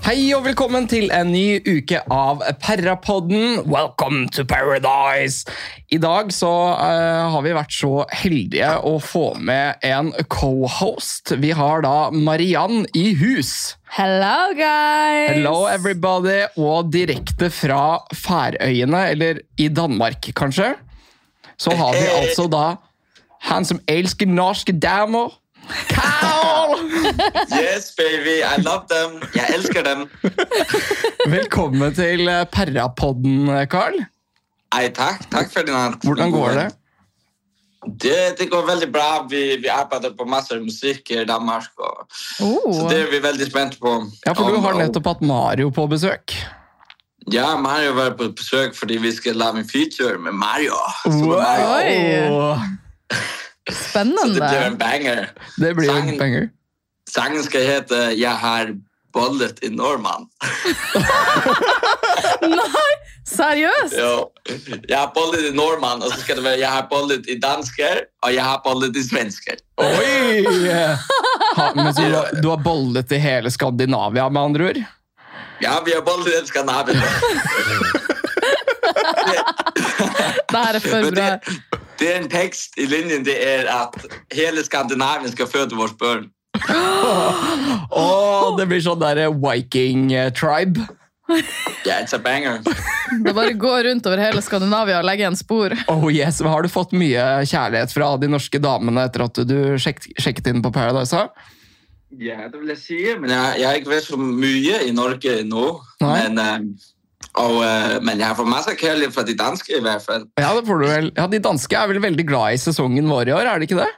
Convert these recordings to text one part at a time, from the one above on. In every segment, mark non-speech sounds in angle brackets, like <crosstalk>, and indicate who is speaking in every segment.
Speaker 1: Hei og velkommen til en ny uke av Perrapodden. Welcome to paradise! I dag så eh, har vi vært så heldige å få med en co-host. Vi har da Mariann i hus.
Speaker 2: Hello, guys!
Speaker 1: Hello everybody, og direkte fra Færøyene, eller i Danmark kanskje, så har vi altså da han som elsker norske damer, Karl!
Speaker 3: Yes, baby, I love them. Jeg elsker dem.
Speaker 1: Velkommen til eh, Perrapodden, Karl.
Speaker 3: Nei, takk. Takk, Ferdinand.
Speaker 1: Hvordan går det?
Speaker 3: Det, det går veldig bra. Vi, vi arbeider på masse musikk i Danmark. Og, Så
Speaker 2: Oh.
Speaker 3: det er vi veldig spent på.
Speaker 1: Ja, for du
Speaker 3: Om-
Speaker 1: har
Speaker 3: om-
Speaker 1: nettopp hatt Mario på besøk.
Speaker 3: Ja, Mario var på besøk fordi vi skal lage en feature med Mario. Super Mario.
Speaker 2: Oi.
Speaker 3: Så det blir
Speaker 2: Spennende.
Speaker 3: en banger.
Speaker 1: Det blir jo
Speaker 3: Sangen.
Speaker 1: penger.
Speaker 3: Sangen skal hete 'Jeg har bollet i nordmann'.
Speaker 2: Nei, seriøst?
Speaker 3: Jo. <laughs> Jeg har bollet i nordmann, og så skal det være 'Jeg har bollet i dansker', og 'Jeg har bollet i svensker'.
Speaker 1: Oi! <laughs> Ha, men så du, har- du har bollet i hele Skandinavia, med andre ord?
Speaker 3: Ja, vi har bollet i den
Speaker 2: <laughs>
Speaker 3: Skandinavien.
Speaker 2: Det her er for
Speaker 3: Men
Speaker 2: bra.
Speaker 3: det, det er en tekst i linjen, det er at hele Skandinavien skal føde vårt børn.
Speaker 1: Å, det blir sånn derre Viking eh, tribe.
Speaker 3: Yeah, it's a banger.
Speaker 2: Det bare går rundt over hele Skandinavia og legger igjen spor.
Speaker 1: Oh yes, men Har du fått mye kjærlighet fra de norske damene etter at du sjekk, sjekket inn på Paradise? da?
Speaker 3: Ja, det vil jeg si, men jeg, jeg har ikke vært så mye i Norge nå.
Speaker 1: Nei.
Speaker 3: Men, eh, og, eh, men jeg har fått masse kjærlighet fra de danske i hvert fall.
Speaker 1: Ja, det får du vel. Ja, De danske er vel veldig glad i sesongen vår i år, er de ikke det?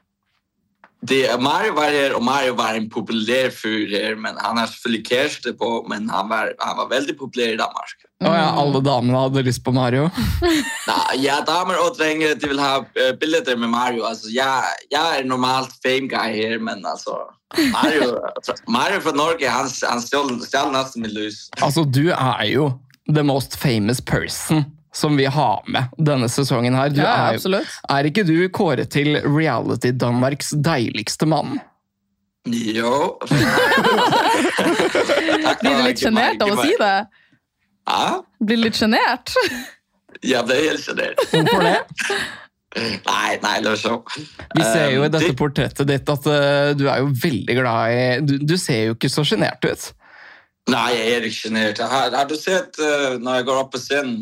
Speaker 3: Det, Mario var her, og Mario var en populær fyr her, men han har selvfølgelig kjæreste på, men han var, han var veldig populær i Danmark.
Speaker 1: Å ja, alle damene hadde lyst på Mario.
Speaker 3: Nei, ja, damer og drenger, de vil ha eh, bilder med Mario. Altså, jeg, jeg er normalt fame guy her, men altså Mario, altså, Mario fra Norge, han, han stjal stjal nesten mitt lys.
Speaker 1: Altså, du er jo the most famous person som vi har med denne sesongen her. Du
Speaker 2: Ja,
Speaker 1: er, jo-
Speaker 2: absolutt.
Speaker 1: er ikke du kåret til reality-Danmarks deiligste mann?
Speaker 2: <laughs>
Speaker 3: Jo. Blir
Speaker 2: Blir du litt sjenert av å si det?
Speaker 3: Ja,
Speaker 2: Blir du litt sjenert?
Speaker 3: jeg ble helt sjenert.
Speaker 1: Hvorfor det?
Speaker 3: Nei, nei, det var så.
Speaker 1: <laughs> Vi ser
Speaker 2: Eh,
Speaker 1: jo i
Speaker 3: Um,
Speaker 1: dette
Speaker 3: det-
Speaker 1: portrettet ditt at eh, du er jo veldig glad i Du, du ser jo ikke så sjenert ut.
Speaker 3: Nei, jeg er ikke sjenert. Har, har du sett eh, når jeg går opp på scenen?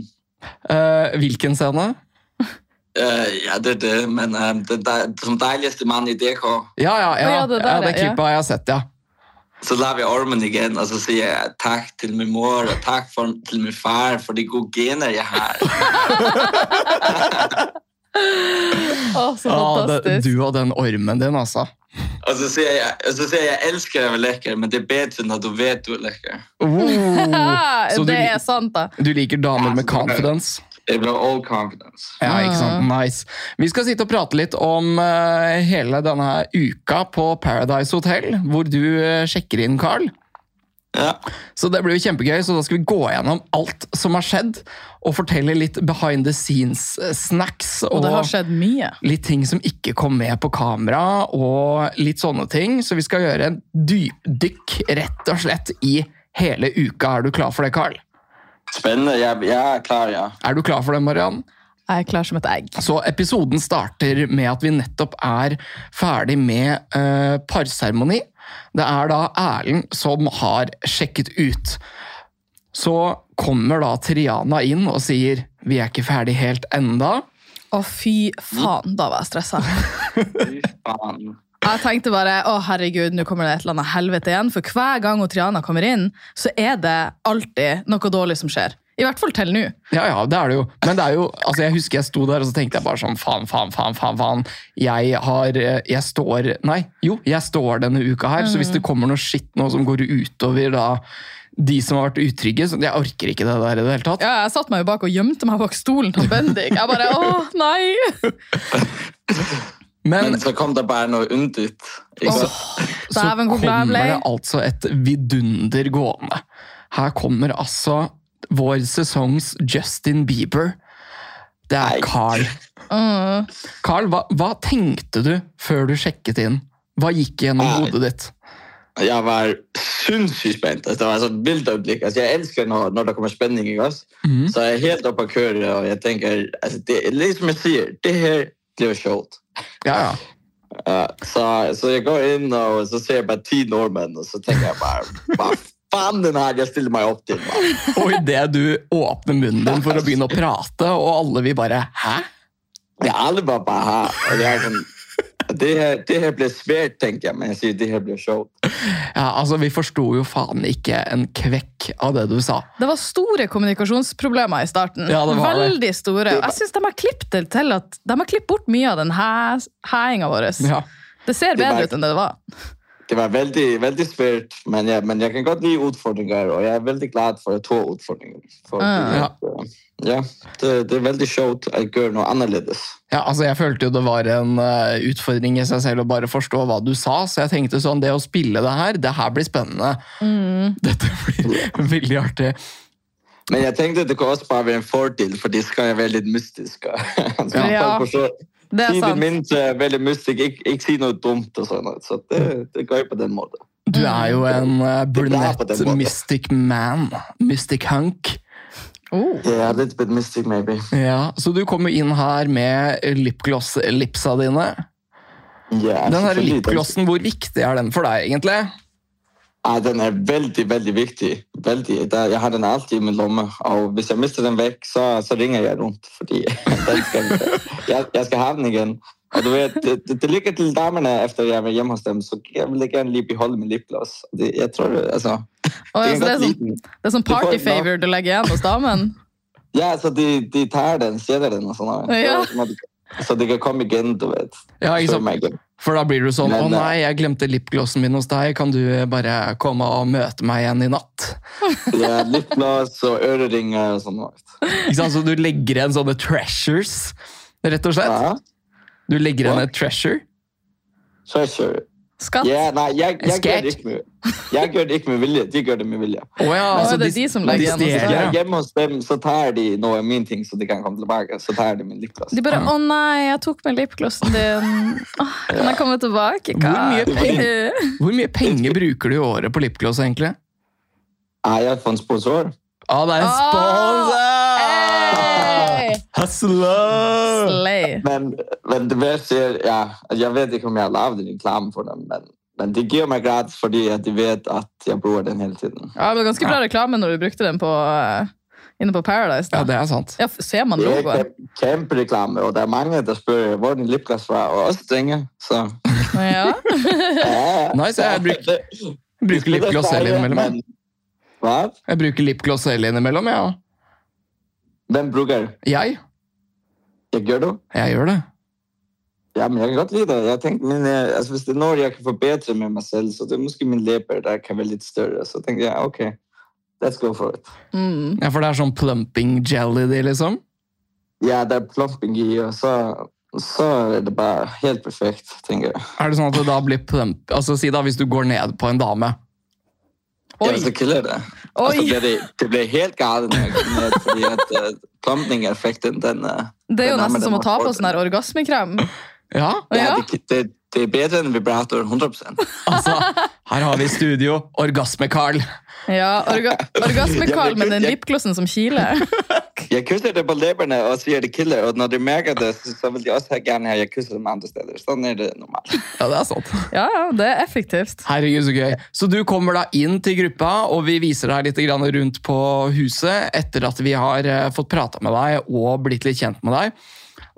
Speaker 1: Eh, hvilken scene?
Speaker 3: Eh, ja, det er det, men eh, den de, som deiligste mann i DK,
Speaker 1: Ja, ja, ja.
Speaker 2: Å, ja, det der,
Speaker 1: ja, det
Speaker 2: ja.
Speaker 1: klippet har jeg sett, ja.
Speaker 3: Så lar vi ormen igjen, og så sier jeg takk til min mor og takk for, til min far for de gode gener jeg har.
Speaker 2: Å, <laughs> så
Speaker 1: Ja, Ah, det,
Speaker 2: fantastisk.
Speaker 1: du og den ormen din, altså.
Speaker 3: Og så sier jeg, og så sier jeg, jeg elsker deg, lekker, men det er bedre når du vet du er lekker.
Speaker 1: Oh,
Speaker 2: <laughs>
Speaker 1: Så du-
Speaker 2: Det er sant, da.
Speaker 1: du liker damer med confidence?
Speaker 3: Det blir all confidence.
Speaker 1: Ja, ikke
Speaker 2: Ah.
Speaker 1: sant? Nice. Vi skal sitte og prate litt om eh, hele denne her uka på Paradise Hotel, hvor du eh, sjekker inn, Carl.
Speaker 3: Ja.
Speaker 1: Så det blir jo kjempegøy, så da skal vi gå gjennom alt som har skjedd, og fortelle litt behind the scenes-snacks.
Speaker 2: Og det har skjedd mye.
Speaker 1: Litt ting som ikke kom med på kamera, og litt sånne ting. Så vi skal gjøre en dypdykk, rett og slett, i hele uka. Er du klar for det, Carl?
Speaker 3: Spennende. Jeg, jeg er klar, ja.
Speaker 1: Er du klar for det, Mariann?
Speaker 2: Jeg er klar som et egg.
Speaker 1: Så episoden starter med at vi nettopp er ferdig med eh, parseremoni. Det er da Erlend som har sjekket ut. Så kommer da Triana inn og sier vi er ikke ferdig helt enda.
Speaker 2: Å, fy faen, da var jeg stressa.
Speaker 3: Fy faen.
Speaker 2: Jeg tenkte bare å herregud, nå kommer det et eller annet helvete igjen. For hver gang hun Triana kommer inn, så er det alltid noe dårlig som skjer. I hvert fall til nå.
Speaker 1: Ja, ja, det er det jo. Men det er jo, altså jeg husker jeg sto der og så tenkte jeg bare sånn faen, faen, faen. faen, faen. Jeg har, eh, jeg står, nei, jo, jeg står denne uka her, så hvis det kommer noe skitt nå som går utover da de som har vært utrygge, så jeg orker ikke det der i det hele tatt.
Speaker 2: Ja, jeg satte meg jo bak og gjemte meg bak stolen til Bendik. Jeg bare å nei!
Speaker 1: Men
Speaker 3: Men så kom det bare noe undigt. Ikke sant?
Speaker 2: Åh,
Speaker 1: <laughs> så
Speaker 2: Dæven, hvor glad jeg
Speaker 1: kommer
Speaker 2: ble.
Speaker 1: det altså et vidunder gående. Her kommer altså vår sesongs Justin Bieber. Det er
Speaker 3: Nei.
Speaker 1: Carl.
Speaker 2: Mm.
Speaker 1: Carl, hva, hva tenkte du før du sjekket inn? Hva gikk gjennom
Speaker 3: Nei.
Speaker 1: hodet ditt?
Speaker 3: Jeg var sinnssykt spent. Altså, Det var et sånt vilt øyeblikk. Altså, jeg elsker når, når det kommer spenning. Ikke? også?
Speaker 1: Mhm.
Speaker 3: Så jeg er helt oppe å køre, og jeg tenker altså, det, Litt som jeg sier, det her blir showt.
Speaker 1: Ja, ja.
Speaker 3: Ja, så, Eh, så jeg går inn, og så ser jeg bare ti nordmenn, og så tenker jeg bare Hva faen den her jeg stiller meg opp til? hva?
Speaker 1: Og idet du åpner munnen din for å begynne å prate, og alle vil bare Hæ?
Speaker 3: Det er alle bare bare her. Og det, er sånn, det, her, det her blir svært, tenker jeg, men jeg sier det her blir showt.
Speaker 1: Ja, altså, Vi forsto jo faen ikke en kvekk av det du sa.
Speaker 2: Det var store kommunikasjonsproblemer i starten.
Speaker 1: Ja, det var det.
Speaker 2: Veldig store. Og Jeg syns de har klippet det til at de har klippet bort mye av den hæ- hæinga vår.
Speaker 1: Ja.
Speaker 2: Det ser
Speaker 3: Det var-
Speaker 2: bedre ut enn det det var.
Speaker 3: Det var veldig, veldig svært, men jeg, men jeg kan godt like utfordringer, og jeg er veldig glad for å ta utfordringer. For,
Speaker 2: Ah, Ja.
Speaker 3: ja, det, det er veldig showt å gjøre noe annerledes.
Speaker 1: Ja, altså Jeg følte jo det var en eh, utfordring i seg selv å bare forstå hva du sa, så jeg tenkte sånn Det å spille det her, det her blir spennende. Dette blir <laughs> veldig artig.
Speaker 3: Men jeg tenkte det kunne også bare være en fordel, for de skal jo være litt mystiske. <laughs> Så
Speaker 2: Ja.
Speaker 3: folk forstår-
Speaker 2: Det er
Speaker 3: Tiden
Speaker 2: sant.
Speaker 3: min er eh, veldig mystisk. Ikke, ikke si noe dumt og sånn. Så det, det går jo på den måten.
Speaker 1: Du er jo en uh,
Speaker 3: på den
Speaker 1: brunett
Speaker 3: måten.
Speaker 1: mystic man. Mystic hunk.
Speaker 2: Oh.
Speaker 3: Yeah, a little bit mystic, maybe.
Speaker 1: Ja, Så du kommer inn her med lipgloss-lipsa dine.
Speaker 3: Yeah,
Speaker 1: Den her
Speaker 3: selvfølgelig.
Speaker 1: lipglossen, hvor viktig er den for deg, egentlig?
Speaker 3: Ja, den er veldig, veldig viktig. Veldig. Det- Jeg har den alltid i min lomme. Og hvis jeg mister den vekk, så, så ringer jeg rundt. Fordi <laughs> den skal, jeg, jeg skal ha den igjen. Og du vet, det, det- det ligger til damene etter jeg var hjemme hos dem, så jeg vil gjerne lige beholde min lipgloss. Det, jeg tror, altså,
Speaker 2: Og
Speaker 3: de
Speaker 2: altså, det, er
Speaker 3: kan godt
Speaker 2: sånn,
Speaker 3: like den.
Speaker 2: det er sånn
Speaker 3: får-
Speaker 2: party favor du legger igjen hos damen.
Speaker 3: Ja, så de, de tar den, stjeler den og sånn.
Speaker 2: Ja.
Speaker 3: Så- Så de kan komme igjen, du vet.
Speaker 1: Ja, ikke
Speaker 3: Før
Speaker 1: sant?
Speaker 3: meg liksom. igjen.
Speaker 1: For da blir du sånn
Speaker 3: Men,
Speaker 1: Å
Speaker 3: eh,
Speaker 1: nei, jeg glemte lipglossen min hos deg. Kan du bare komme og møte meg igjen i natt?
Speaker 3: Ja, lipgloss og øreringer og sånn.
Speaker 1: Ikke sant? Så du legger igjen sånne treasures, rett og slett.
Speaker 3: Ja,
Speaker 1: Du legger igjen
Speaker 3: Hva?
Speaker 1: et treasure.
Speaker 3: treasure.
Speaker 2: Skatt.
Speaker 3: Ja, nei, jeg, jeg,
Speaker 1: Sketch.
Speaker 3: gjør det ikke med, jeg gjør det ikke med vilje. De gjør det med vilje.
Speaker 1: Å ja,
Speaker 2: Å,
Speaker 1: altså,
Speaker 2: det er de som legger
Speaker 1: de
Speaker 2: igjen hos
Speaker 1: stjeler,
Speaker 3: Så
Speaker 1: ja.
Speaker 3: hjemme hos dem så tar de noe av min ting, så de kan komme tilbake. Så tar de min lipgloss.
Speaker 2: De bare 'Å nei, jeg tok med lipglossen din. Åh, kan jeg komme tilbake?' Hva?
Speaker 1: Hvor mye penger? Hvor mye penger bruker du i året på lipgloss, egentlig?
Speaker 3: Ja, jeg får en sponsor.
Speaker 1: Å, det er en
Speaker 2: Å,
Speaker 1: sponsor!
Speaker 2: Hey!
Speaker 1: Hustler!
Speaker 2: Slay.
Speaker 3: Men, men det verste er ja, at Jeg vet ikke om jeg har lagd en reklame for dem, men, men de gir meg gratis fordi at de vet at jeg bruker den hele tiden.
Speaker 2: Ja, det var ganske bra reklame når du brukte den på, eh, inne på Paradise.
Speaker 1: Ja,
Speaker 2: Da.
Speaker 1: det er sant.
Speaker 2: Ja, f- ser man
Speaker 3: Det er
Speaker 2: logoen?
Speaker 3: kjem- kjempereklame, og det er mange der spør hvor din lipgloss var, og også trenger. Så
Speaker 1: <laughs>
Speaker 2: Ja. <laughs>
Speaker 3: ja.
Speaker 1: Nice, jeg bruk- Bruker lipgloss selv innimellom. jeg.
Speaker 3: Hva?
Speaker 1: Jeg bruker lipgloss selv innimellom, ja.
Speaker 3: Hvem bruker det?
Speaker 1: Jeg?
Speaker 3: Jeg gjør det.
Speaker 1: Jeg gjør det.
Speaker 3: Ja, men jeg kan godt lide det. Jeg tenkte, men, eh, altså, hvis det er noe jeg kan forbedre med meg selv, så det er kanskje min leper der kan være litt større. Så tenkte jeg, ok, let's go for it.
Speaker 2: Mm.
Speaker 1: Ja, For det er sånn plumping jelly, de, liksom?
Speaker 3: Ja, det er plumping i, og så, så er det bare helt perfekt, tenker jeg.
Speaker 1: Er det sånn at det da blir plump Altså, si da hvis du går ned på en dame.
Speaker 2: Oi.
Speaker 3: Ja, så killer det.
Speaker 2: Oi.
Speaker 3: Altså, det, blir- det blir helt galt når jeg kommer ned, fordi at eh, plumping-effekten, den... eh,
Speaker 2: Det er jo
Speaker 3: den
Speaker 2: nesten
Speaker 3: med
Speaker 2: som å
Speaker 3: den
Speaker 2: ta på
Speaker 3: akkordet.
Speaker 2: sånn her orgasmekrem.
Speaker 1: Ja,
Speaker 2: Ja.
Speaker 3: Ja, det, det, det er bedre enn vibrator, 100%.
Speaker 1: altså. Her har vi studio. Orgasme-Carl.
Speaker 2: Ja, orga Orgasmekall med den lipglossen som kiler.
Speaker 3: Jeg kysser det på leppene og sier det killer, og når de merker det, så, så vil de også gjerne ha jeg kysser dem andre steder. Sånn er det normalt.
Speaker 1: Ja, det er sant.
Speaker 2: Ja, ja, det er effektivt.
Speaker 1: Herregud, så gøy. Så du kommer da inn til gruppa, og vi viser deg litt grann rundt på huset etter at vi har eh, fått prata med deg og blitt litt kjent med deg.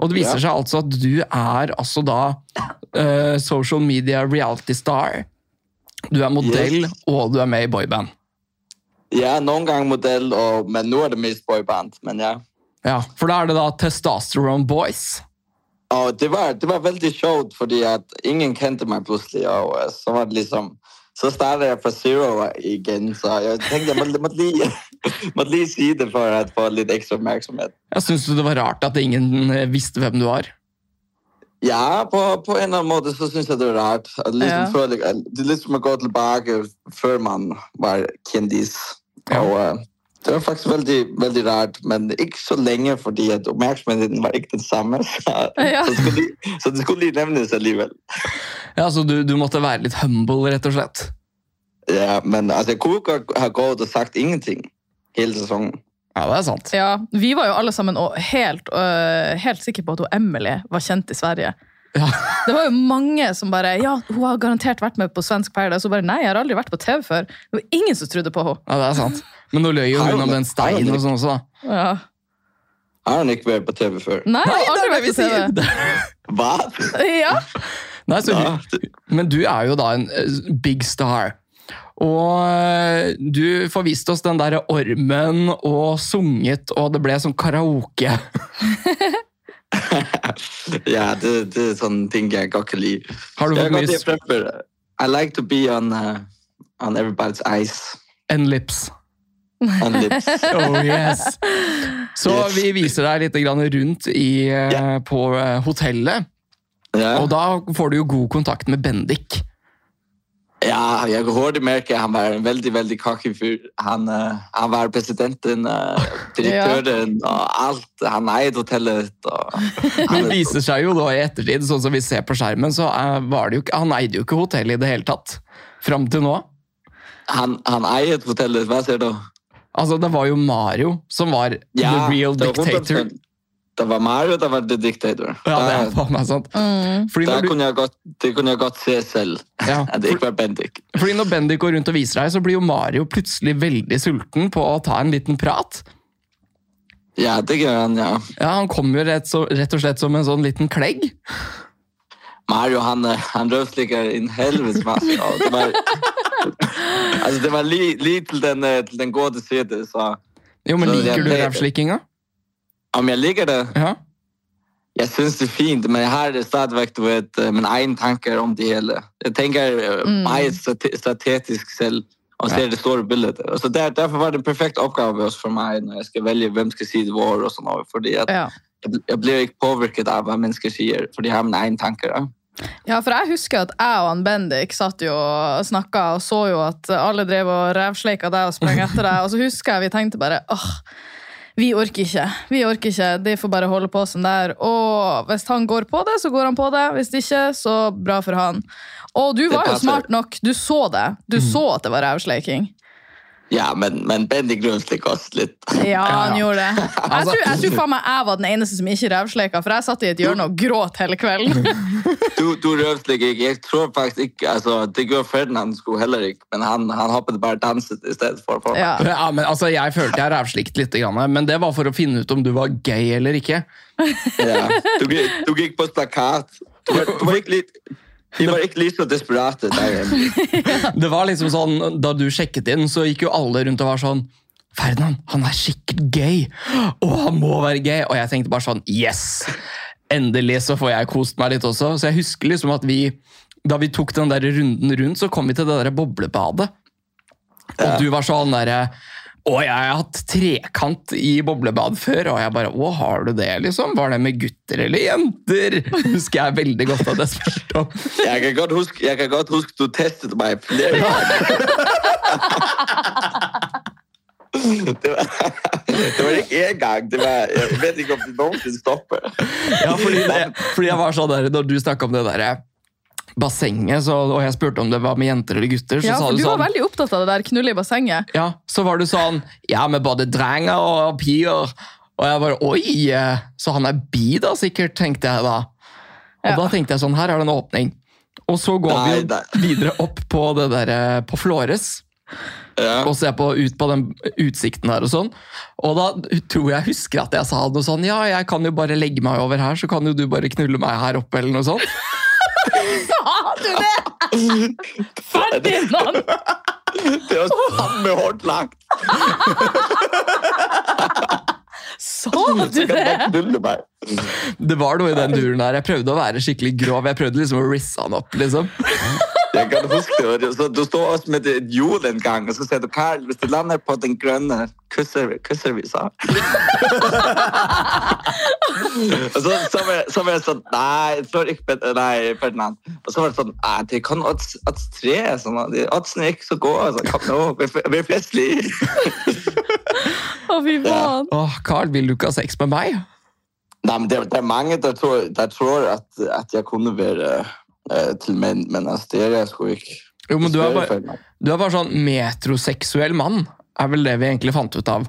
Speaker 1: Og det viser seg altså at du er altså da eh, social media reality star. Du er modell,
Speaker 3: Yes.
Speaker 1: og du er med i boyband.
Speaker 3: Ja, noen ganger modell, og, men nå er det mest boyband. Men ja.
Speaker 1: Ja, For da er det da Testosterone Boys.
Speaker 3: Og det var, det var veldig showt, fordi at ingen kjente meg plutselig. Og eh, så var det liksom Så startet jeg fra zero igjen, så jeg tenkte jeg måtte, måtte, lige, <laughs> måtte lige si det for å få litt ekstra oppmerksomhet.
Speaker 1: Jeg Syns du det var rart at ingen eh, visste hvem du var?
Speaker 3: Ja, på, på en eller annen måte så syns jeg det er rart. At
Speaker 2: Ja.
Speaker 3: Liksom før, det det er litt som å gå tilbake før man var kjendis.
Speaker 1: Ja.
Speaker 3: Og eh, det var faktisk veldig, veldig rart, men ikke så lenge, fordi at oppmerksomheten var ikke den samme. <laughs> Så,
Speaker 2: Ja.
Speaker 3: så, det skulle, lige- så det skulle lige nevnes allikevel.
Speaker 1: Ja, så du, du måtte være litt humble, rett og slett.
Speaker 3: Ja, men altså, jeg kunne jo godt have gået og sagt ingenting hele sæsonen.
Speaker 1: Ja, det er sant.
Speaker 2: Ja, Vi var jo alle sammen og helt, øh, helt sikre på at hun Emily var kjent i Sverige.
Speaker 1: Ja.
Speaker 2: <laughs> Det var jo mange som bare Ja, hun har garantert vært med på svensk Paradise. Hun bare Nei, jeg har aldri vært på TV før. Det var ingen som trodde på henne.
Speaker 1: Ja, det er sant. Men nå løy jo hun om den steinen og sånn også, da.
Speaker 2: Ja.
Speaker 3: Har han ikke været på TV før?
Speaker 2: Nei, hun har
Speaker 1: det er
Speaker 2: aldri
Speaker 1: det
Speaker 2: vært
Speaker 1: vi
Speaker 2: på TV.
Speaker 1: sier.
Speaker 3: Hvad?
Speaker 2: Ja.
Speaker 1: <laughs> Nei, så
Speaker 3: Ja,
Speaker 1: hun, Men du er jo da en eh, big star. Og eh, du får vist oss den derre ormen og sunget, og det ble sånn karaoke.
Speaker 3: ja det, det er sådan en ting, jeg godt kan lide.
Speaker 1: Har du fått
Speaker 3: jeg kan godt
Speaker 1: mye
Speaker 3: lide at
Speaker 1: s-
Speaker 3: preppe. I like to be on, uh, on everybody's eyes
Speaker 1: and lips?
Speaker 3: <laughs>
Speaker 1: <laughs>
Speaker 3: and lips.
Speaker 1: Oh yes! Så
Speaker 3: Yes.
Speaker 1: vi viser deg litt grann rundt i, eh, på eh, hotellet,
Speaker 3: Ja.
Speaker 1: og da får du jo god kontakt med Bendik.
Speaker 3: ja, jeg kan hurtigt mærke, at han var en vældig, vældig cocky fyr. Han, øh, han var
Speaker 1: <laughs>
Speaker 3: præsidenten, øh, direktøren og alt. Han ejede hotellet.
Speaker 1: <laughs>
Speaker 3: Og,
Speaker 1: Men det viser seg jo da i ettertid, sånn som vi ser på skjermen, så eh, var det jo ikke Han eide jo ikke hotellet i det hele tatt. Fram til nå.
Speaker 3: han, han ejede hotellet, hvad siger du?
Speaker 1: Altså, det var jo Mario som var the real
Speaker 3: det var
Speaker 1: dictator.
Speaker 3: 100%. Der var Mario, der var The Dictator.
Speaker 1: Ja, det er
Speaker 3: der,
Speaker 1: faen meg sant.
Speaker 2: Mm.
Speaker 1: Fordi
Speaker 3: der
Speaker 1: når, du,
Speaker 3: kunne jeg godt, det kunne jeg godt se selv,
Speaker 1: ja,
Speaker 3: at <laughs> det ikke var Bendik.
Speaker 1: fordi når Bendik går rundt og viser deg, så blir jo Mario plutselig veldig sulten på å ta en liten prat.
Speaker 3: Ja, det gjør han, ja.
Speaker 1: Ja, Han kommer jo rett, så, rett og slett som en sånn liten klegg.
Speaker 3: Mario, han, øh, han røvslikker en helvedes masse. Og det var, altså, det var lige, lige til, den, øh, til den gode desserte, så
Speaker 1: Jo, men
Speaker 3: Så det er
Speaker 1: Liker du
Speaker 3: bedre.
Speaker 1: rævslikkinga?
Speaker 3: om jeg ligger der,
Speaker 1: Ja.
Speaker 3: jeg synes det er fint, men jeg har stadigvæk, du vet, øh, mine egne tanker om det hele. Jeg tænker øh,
Speaker 2: Mm.
Speaker 3: meget strate- strategisk selv, og ser det store billedet. Og Så der, derfor var det en perfekt opgave også for mig, når jeg skal vælge, hvem skal sige det hvor og sådan noget, fordi at
Speaker 2: Ja.
Speaker 3: jeg, jeg blir ikke påvirket av hva mennesker sier, for de har mine egne tanker. Ja.
Speaker 2: Ja, for jeg husker at jeg og han Bendik satt jo og snakka og så jo at alle drev og revsleika deg og sprang etter deg, og så husker jeg vi tenkte bare åh, vi orker ikke. Vi orker ikke. De får bare holde på som det er. Og hvis han går på det, så går han på det. Hvis ikke, så bra for han. Og du
Speaker 3: Det
Speaker 2: var jo
Speaker 3: passer.
Speaker 2: smart nok. Du så det. Du så at det var revsleiking.
Speaker 3: Ja, men, men Bendik Grønslik også litt.
Speaker 2: Ja, han
Speaker 1: ja.
Speaker 2: gjorde det. Jeg tror, jeg tror faen meg jeg var den eneste som ikke revsleika, for jeg satt i et hjørne og gråt hele kvelden.
Speaker 3: Du, du Grønslik, ikke. Jeg tror faktisk ikke, altså, det gjør Ferdinand skulle heller ikke, men han, han hoppet bare og danset i stedet for. for.
Speaker 2: Ja.
Speaker 1: ja, men altså, Jeg følte jeg rævslikt litt, grann, men det var for å finne ut om du var gay eller ikke.
Speaker 3: Ja. Du, gikk- du gikk på plakat. Du var, du var ikke litt... De var ikke litt så desperate der hjemme.
Speaker 1: <laughs> Det var liksom sånn, Da du sjekket inn, så gikk jo alle rundt og var sånn Ferdinand, han er sikkert gay! Å, han må være gay! Og jeg tenkte bare sånn Yes! Endelig så får jeg kost meg litt også. Så jeg husker liksom at vi Da vi tok den der runden rundt, så kom vi til det der boblebadet. Og du var sånn derre Å, jeg har hatt trekant i boblebad før. Og jeg bare Å, har du det, liksom? Var det med gutter eller jenter? Husker jeg veldig godt at jeg spurte om.
Speaker 3: Jeg kan godt huske, jeg kan godt huske du testet meg flere ganger. Det var, det var ikke én gang. Det var, jeg vet ikke om det noensinne stopper.
Speaker 1: Ja, fordi, det, fordi jeg var sånn der, Når du snakka om det der eh, bassenget, så, og jeg spurte om det var med jenter eller gutter, så
Speaker 2: Ja,
Speaker 1: sa
Speaker 2: for
Speaker 1: du,
Speaker 2: du var
Speaker 1: sånn
Speaker 2: veldig opptatt av det der knullet i bassenget.
Speaker 1: Ja, så var du sånn Ja, med både drenger og piger. Og jeg bare Oi! eh, Så han er bi, da, sikkert, tenkte jeg da. Og
Speaker 2: Ja.
Speaker 1: da tenkte jeg sånn Her er det en åpning. Og så går vi
Speaker 3: Nei, nei.
Speaker 1: jo videre opp på det der, eh, på Flores.
Speaker 3: Ja.
Speaker 1: og se på, ut på den utsikten her og sånn. Og da tror jeg husker at jeg sa noe sånn Ja, jeg kan jo bare legge meg over her, så kan jo du bare knulle meg her oppe, eller noe sånt.
Speaker 2: Sa du det?! Ferdinand!
Speaker 3: Det var samme hårdt lagt.
Speaker 2: Sa du
Speaker 3: Kan
Speaker 2: det?!
Speaker 3: bare knulle meg.
Speaker 1: Det var noe i den duren der. Jeg prøvde å være skikkelig grov. Jeg prøvde liksom å risse han opp, liksom.
Speaker 3: Jeg kan huske det. var det. Så du står også med et hjul en gang, og så sier du Karl, hvis du lander på den grønne, kysser, kysser vi så. <laughs> og så, så, var jeg, så var jeg sånn Nei, jeg tror ikke Pet- Nei, Ferdinand. Og så var det sånn Nei, det kan odds, odds tre. Sånn, og de- Oddsen er ikke så gode. Altså, kom nå, vi er f- vi er festlige.
Speaker 2: Å, fy faen.
Speaker 1: Åh, Carl, vil du ikke ha sex med meg?
Speaker 3: <laughs> Nei, men det, det er mange der tror, der tror at, at jeg kunne være eh, til menn, men altså, det er jeg sgu ikke.
Speaker 1: Jo, men du er, bare,
Speaker 3: Spør for meg.
Speaker 1: du er bare sånn metroseksuell mann, er vel det vi egentlig fant ut av.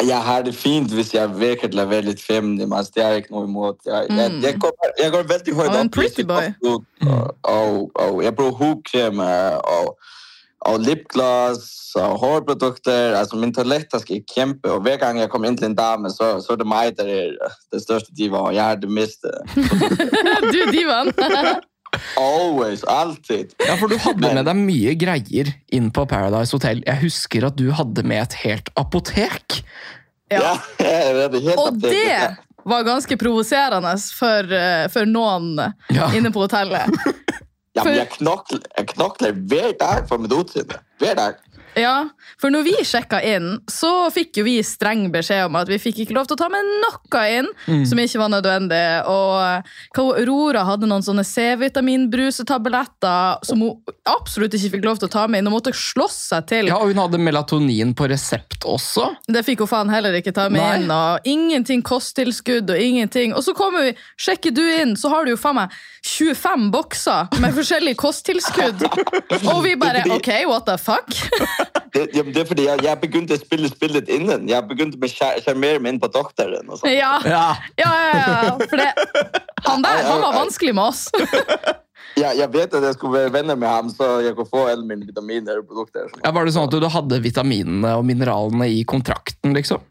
Speaker 3: Jeg har det fint hvis jeg virker til å være litt feminin. Altså, det er ikke noe imot. Jeg, jeg,
Speaker 2: Mm.
Speaker 3: jeg, kommer, jeg går veldig høyt
Speaker 2: Og en
Speaker 3: opp. hvis
Speaker 2: pretty
Speaker 3: jeg
Speaker 2: boy.
Speaker 3: kommer ut, Og, og, og jeg bruker hudkrem og, og lipgloss og hårprodukter. Altså, min toalettaske er kjempe, og hver gang jeg kommer inn til en dame, så, så er det meg der er den største diva, og jeg er det meste.
Speaker 2: Du, <laughs> divaen.
Speaker 3: Always, alltid.
Speaker 1: Ja, for du hadde med deg mye greier inn på Paradise Hotel. Jeg husker at du hadde med et helt apotek.
Speaker 2: Ja.
Speaker 3: Ja, <laughs> jeg er det helt
Speaker 2: Og
Speaker 3: opptatt.
Speaker 2: det var ganske provoserende for, eh, for noen
Speaker 1: Ja.
Speaker 2: inne på hotellet.
Speaker 3: Ja, men jeg knokler, jeg knokler hver dag for mitt utseende. Hver dag.
Speaker 2: Ja, for når vi sjekka inn, så fikk jo vi streng beskjed om at vi fikk ikke lov til å ta med noe inn som ikke var nødvendig. Og hva hun- Aurora hadde noen sånne C-vitaminbrusetabletter som hun absolutt ikke fikk lov til å ta med inn. Hun måtte slåss seg til.
Speaker 1: Ja, og hun hadde melatonin på resept også.
Speaker 2: Det fikk hun faen heller ikke ta med
Speaker 1: Nei.
Speaker 2: inn. Og ingenting kosttilskudd og ingenting. Og så kommer vi, sjekker du inn, så har du jo faen meg 25 bokser med forskjellige kosttilskudd. Og vi
Speaker 1: <laughs>
Speaker 2: bare OK, what the fuck?
Speaker 3: Det, jamen, det er fordi jeg, jeg begynte å spille spillet innen. Jeg begynte å skjar- sjarmere meg inn på doktoren. Og sånn. sånt.
Speaker 2: Ja.
Speaker 1: Ja.
Speaker 2: Ja, ja, ja. For det, han der han var vanskelig med oss.
Speaker 3: jeg, jeg vet at jeg skulle være venner med ham, så jeg kunne få alle mine vitaminer og produkter. og sånt.
Speaker 1: Var det sånn at du hadde vitaminene og mineralene i kontrakten, liksom?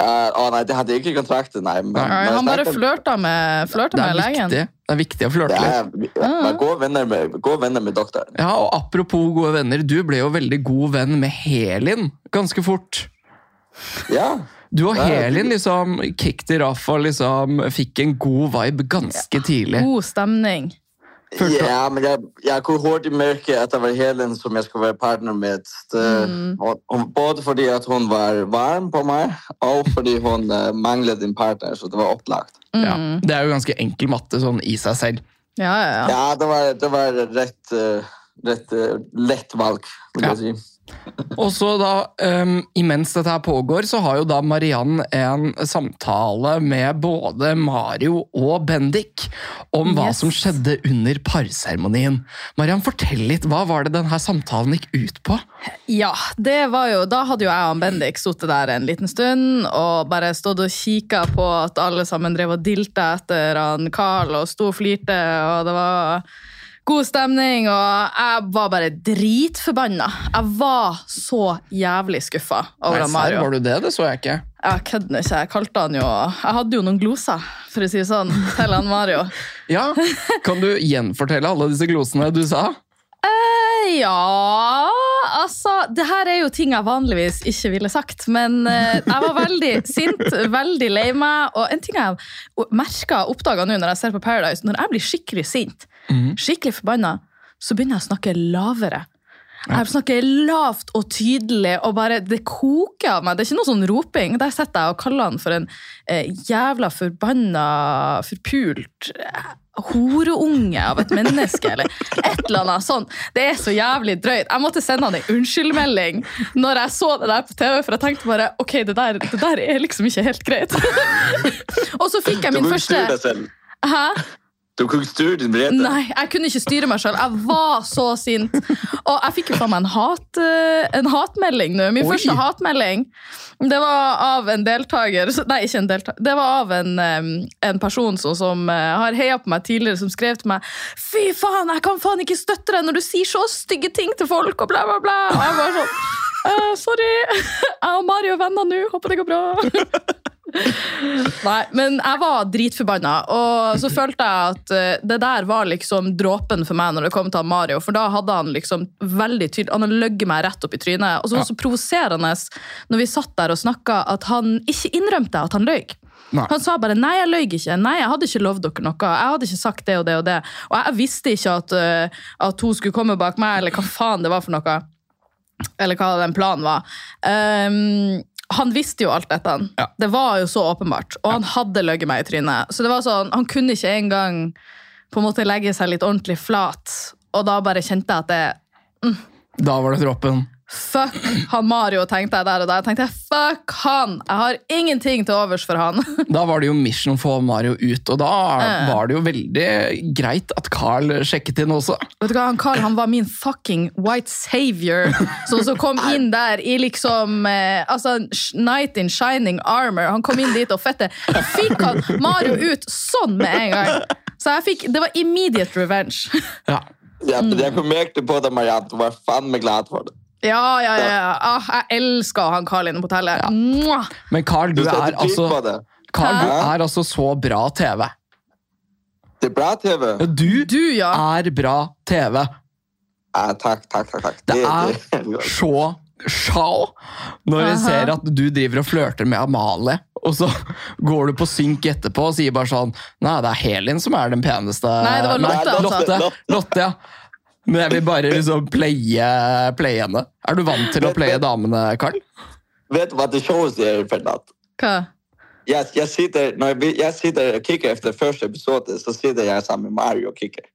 Speaker 3: Eh, å nei, det hadde jeg ikke i kontrakten, nei. Men, men jeg
Speaker 2: Han bare
Speaker 3: snakket-
Speaker 2: flørta med, flørta
Speaker 1: Det er
Speaker 2: med legen.
Speaker 1: viktig, det er viktig å flørte
Speaker 3: Ja,
Speaker 1: litt.
Speaker 3: ja, vi-
Speaker 2: Ah.
Speaker 3: men gode venner med, gode venner med doktoren.
Speaker 1: Ja, og apropos gode venner, du ble jo veldig god venn med Helin ganske fort.
Speaker 3: Ja.
Speaker 1: Du og
Speaker 3: Ja, ja.
Speaker 1: Helin liksom kicked it off og liksom fikk en god vibe ganske tidlig.
Speaker 2: God stemning.
Speaker 1: Følte-
Speaker 3: ja, men jeg, jeg kunne hurtig merke at det var Helen som jeg skulle være partner med. Det,
Speaker 2: Mm.
Speaker 3: og, og både fordi at hun var varm på meg, og fordi hun eh, manglet en partner, så det var opplagt.
Speaker 1: Ja, det er jo ganske enkel matte sånn i seg selv.
Speaker 2: Ja, ja, ja.
Speaker 3: Ja, det var, det var rett, eh, rett eh, lett valg, vil
Speaker 1: Ja.
Speaker 3: jeg si.
Speaker 1: Og så da, um, imens dette her pågår, så har jo da Mariann en samtale med både Mario og Bendik om hva
Speaker 2: Yes.
Speaker 1: som skjedde under parseremonien. Mariann, fortell litt, hva var det denne samtalen gikk ut på?
Speaker 2: ja det var jo, da hadde jo jeg og Bendik sittet der en liten stund og bare stått og kikka på at alle sammen drev og dilta etter han Carl og sto og flirte, og det var god stemning. Og jeg var bare dritforbanna. Jeg var så jævlig skuffa over
Speaker 1: Nei,
Speaker 2: han
Speaker 1: serr,
Speaker 2: Mario.
Speaker 1: var du det? Det så jeg ikke.
Speaker 2: Jeg kødder ikke. Jeg kalte han jo Jeg hadde jo noen gloser, for å si det sånn, til han Mario.
Speaker 1: Ja, Kan du gjenfortelle alle disse glosene du sa?
Speaker 2: Eh, Ja Altså, det her er jo ting jeg vanligvis ikke ville sagt, men eh, jeg var veldig sint, veldig lei meg. Og en ting jeg merka og oppdaga nå når jeg ser på Paradise, når jeg blir skikkelig sint, skikkelig forbanna, så begynner jeg å snakke lavere. Jeg snakker lavt og tydelig, og bare det koker av meg. Det er ikke noe sånn roping. Der sitter jeg og kaller han for en eh, jævla forbanna, forpult eh, horeunge av et menneske, eller et eller annet sånt. Det er så jævlig drøyt. Jeg måtte sende han en unnskyldmelding når jeg så det der på TV, for jeg tenkte bare ok, det der, det der er liksom ikke helt greit. <laughs> og så fikk jeg
Speaker 3: Du
Speaker 2: min
Speaker 3: kunne ikke
Speaker 2: første
Speaker 3: styre deg selv.
Speaker 2: Hæ?
Speaker 3: Du kunne ikke styre din vrede.
Speaker 2: Nei, jeg kunne ikke styre meg sjøl. Jeg var så sint. Og jeg fikk jo faen meg en, hat, eh, en hatmelding nå. Min
Speaker 1: Oi.
Speaker 2: første hatmelding. Det var av en deltaker så- Nei, ikke en deltaker. Det var av en, eh, en person som, som eh, har heia på meg tidligere, som skrev til meg Fy faen, jeg kan faen ikke støtte deg når du sier så stygge ting til folk, og bla, bla, bla. Og jeg var sånn «Eh, sorry. <laughs> Jeg og Mari er venner nå. Håper det går bra. Nei, men jeg var dritforbanna, og så følte jeg at eh, det der var liksom dråpen for meg når det kom til han Mario, for da hadde han liksom veldig tydelig Han hadde løyet meg rett opp i trynet. Og så var det så provoserende når vi satt der og snakka, at han ikke innrømte at han løy.
Speaker 1: Nei.
Speaker 2: Han sa bare 'nei, jeg løy ikke', 'nei, jeg hadde ikke lovd dere noe', 'jeg hadde ikke sagt det og det og det', og jeg visste ikke at, eh, at hun skulle komme bak meg, eller hva faen det var for noe eller hva den planen var. Ehm, han visste jo alt dette.
Speaker 1: Ja.
Speaker 2: Det var jo så åpenbart. Og han hadde løyet meg i trynet. Så det var sånn, han kunne ikke engang på en måte legge seg litt ordentlig flat. Og da bare kjente jeg at det
Speaker 1: Da var det dråpen.
Speaker 2: Fuck han Mario, tenkte jeg der og der. Tenkte jeg, Fuck han! Jeg har ingenting til overs for han.
Speaker 1: Da var det jo mission å få Mario ut, og da
Speaker 2: Ja.
Speaker 1: var det jo veldig greit at Carl sjekket inn også.
Speaker 2: Vet du hva, han Carl han var min fucking white savior, som så kom inn der i liksom eh, altså, sh- Knight in shining armor. Han kom inn dit og fette. Fikk han Mario ut sånn med en gang! Så jeg fikk, Det var immediate revenge. <laughs>
Speaker 1: Ja.
Speaker 3: Ja, men jeg mærke på det, Marianne. Du var faen meg glad for det.
Speaker 2: Ja, ja, ja. ja. Ah, jeg elsker han Carl inne på hotellet. Mwah!
Speaker 1: Men Carl,
Speaker 3: Du
Speaker 1: du,
Speaker 3: setter
Speaker 1: er
Speaker 3: pris
Speaker 1: altså,
Speaker 3: på det.
Speaker 1: Carl, du
Speaker 3: Hæ?
Speaker 1: er altså så bra TV.
Speaker 3: Det er bra TV.
Speaker 1: Du
Speaker 2: Du, ja.
Speaker 1: er bra TV.
Speaker 3: Ja, Ah, takk, takk, takk. takk.
Speaker 1: Det
Speaker 3: det- <laughs>
Speaker 1: så sjal når jeg
Speaker 2: Aha.
Speaker 1: ser at du driver og flørter med Amalie, og så går du på synk etterpå og sier bare sånn Nei, det er Helin som er den peneste.
Speaker 2: Nei, det var Lotte,
Speaker 1: Nei,
Speaker 2: altså.
Speaker 1: Lotte, Lotte, ja. Men jeg vil bare liksom playe, playe henne. Er du vant til å playe damene, Karl?
Speaker 3: Vet du hva det showeste er, Fernand?
Speaker 2: Hva?
Speaker 3: Jeg, jeg, sitter, når jeg, jeg sitter og kikker efter første episode, så sitter jeg sammen med Mario og kikker. <laughs>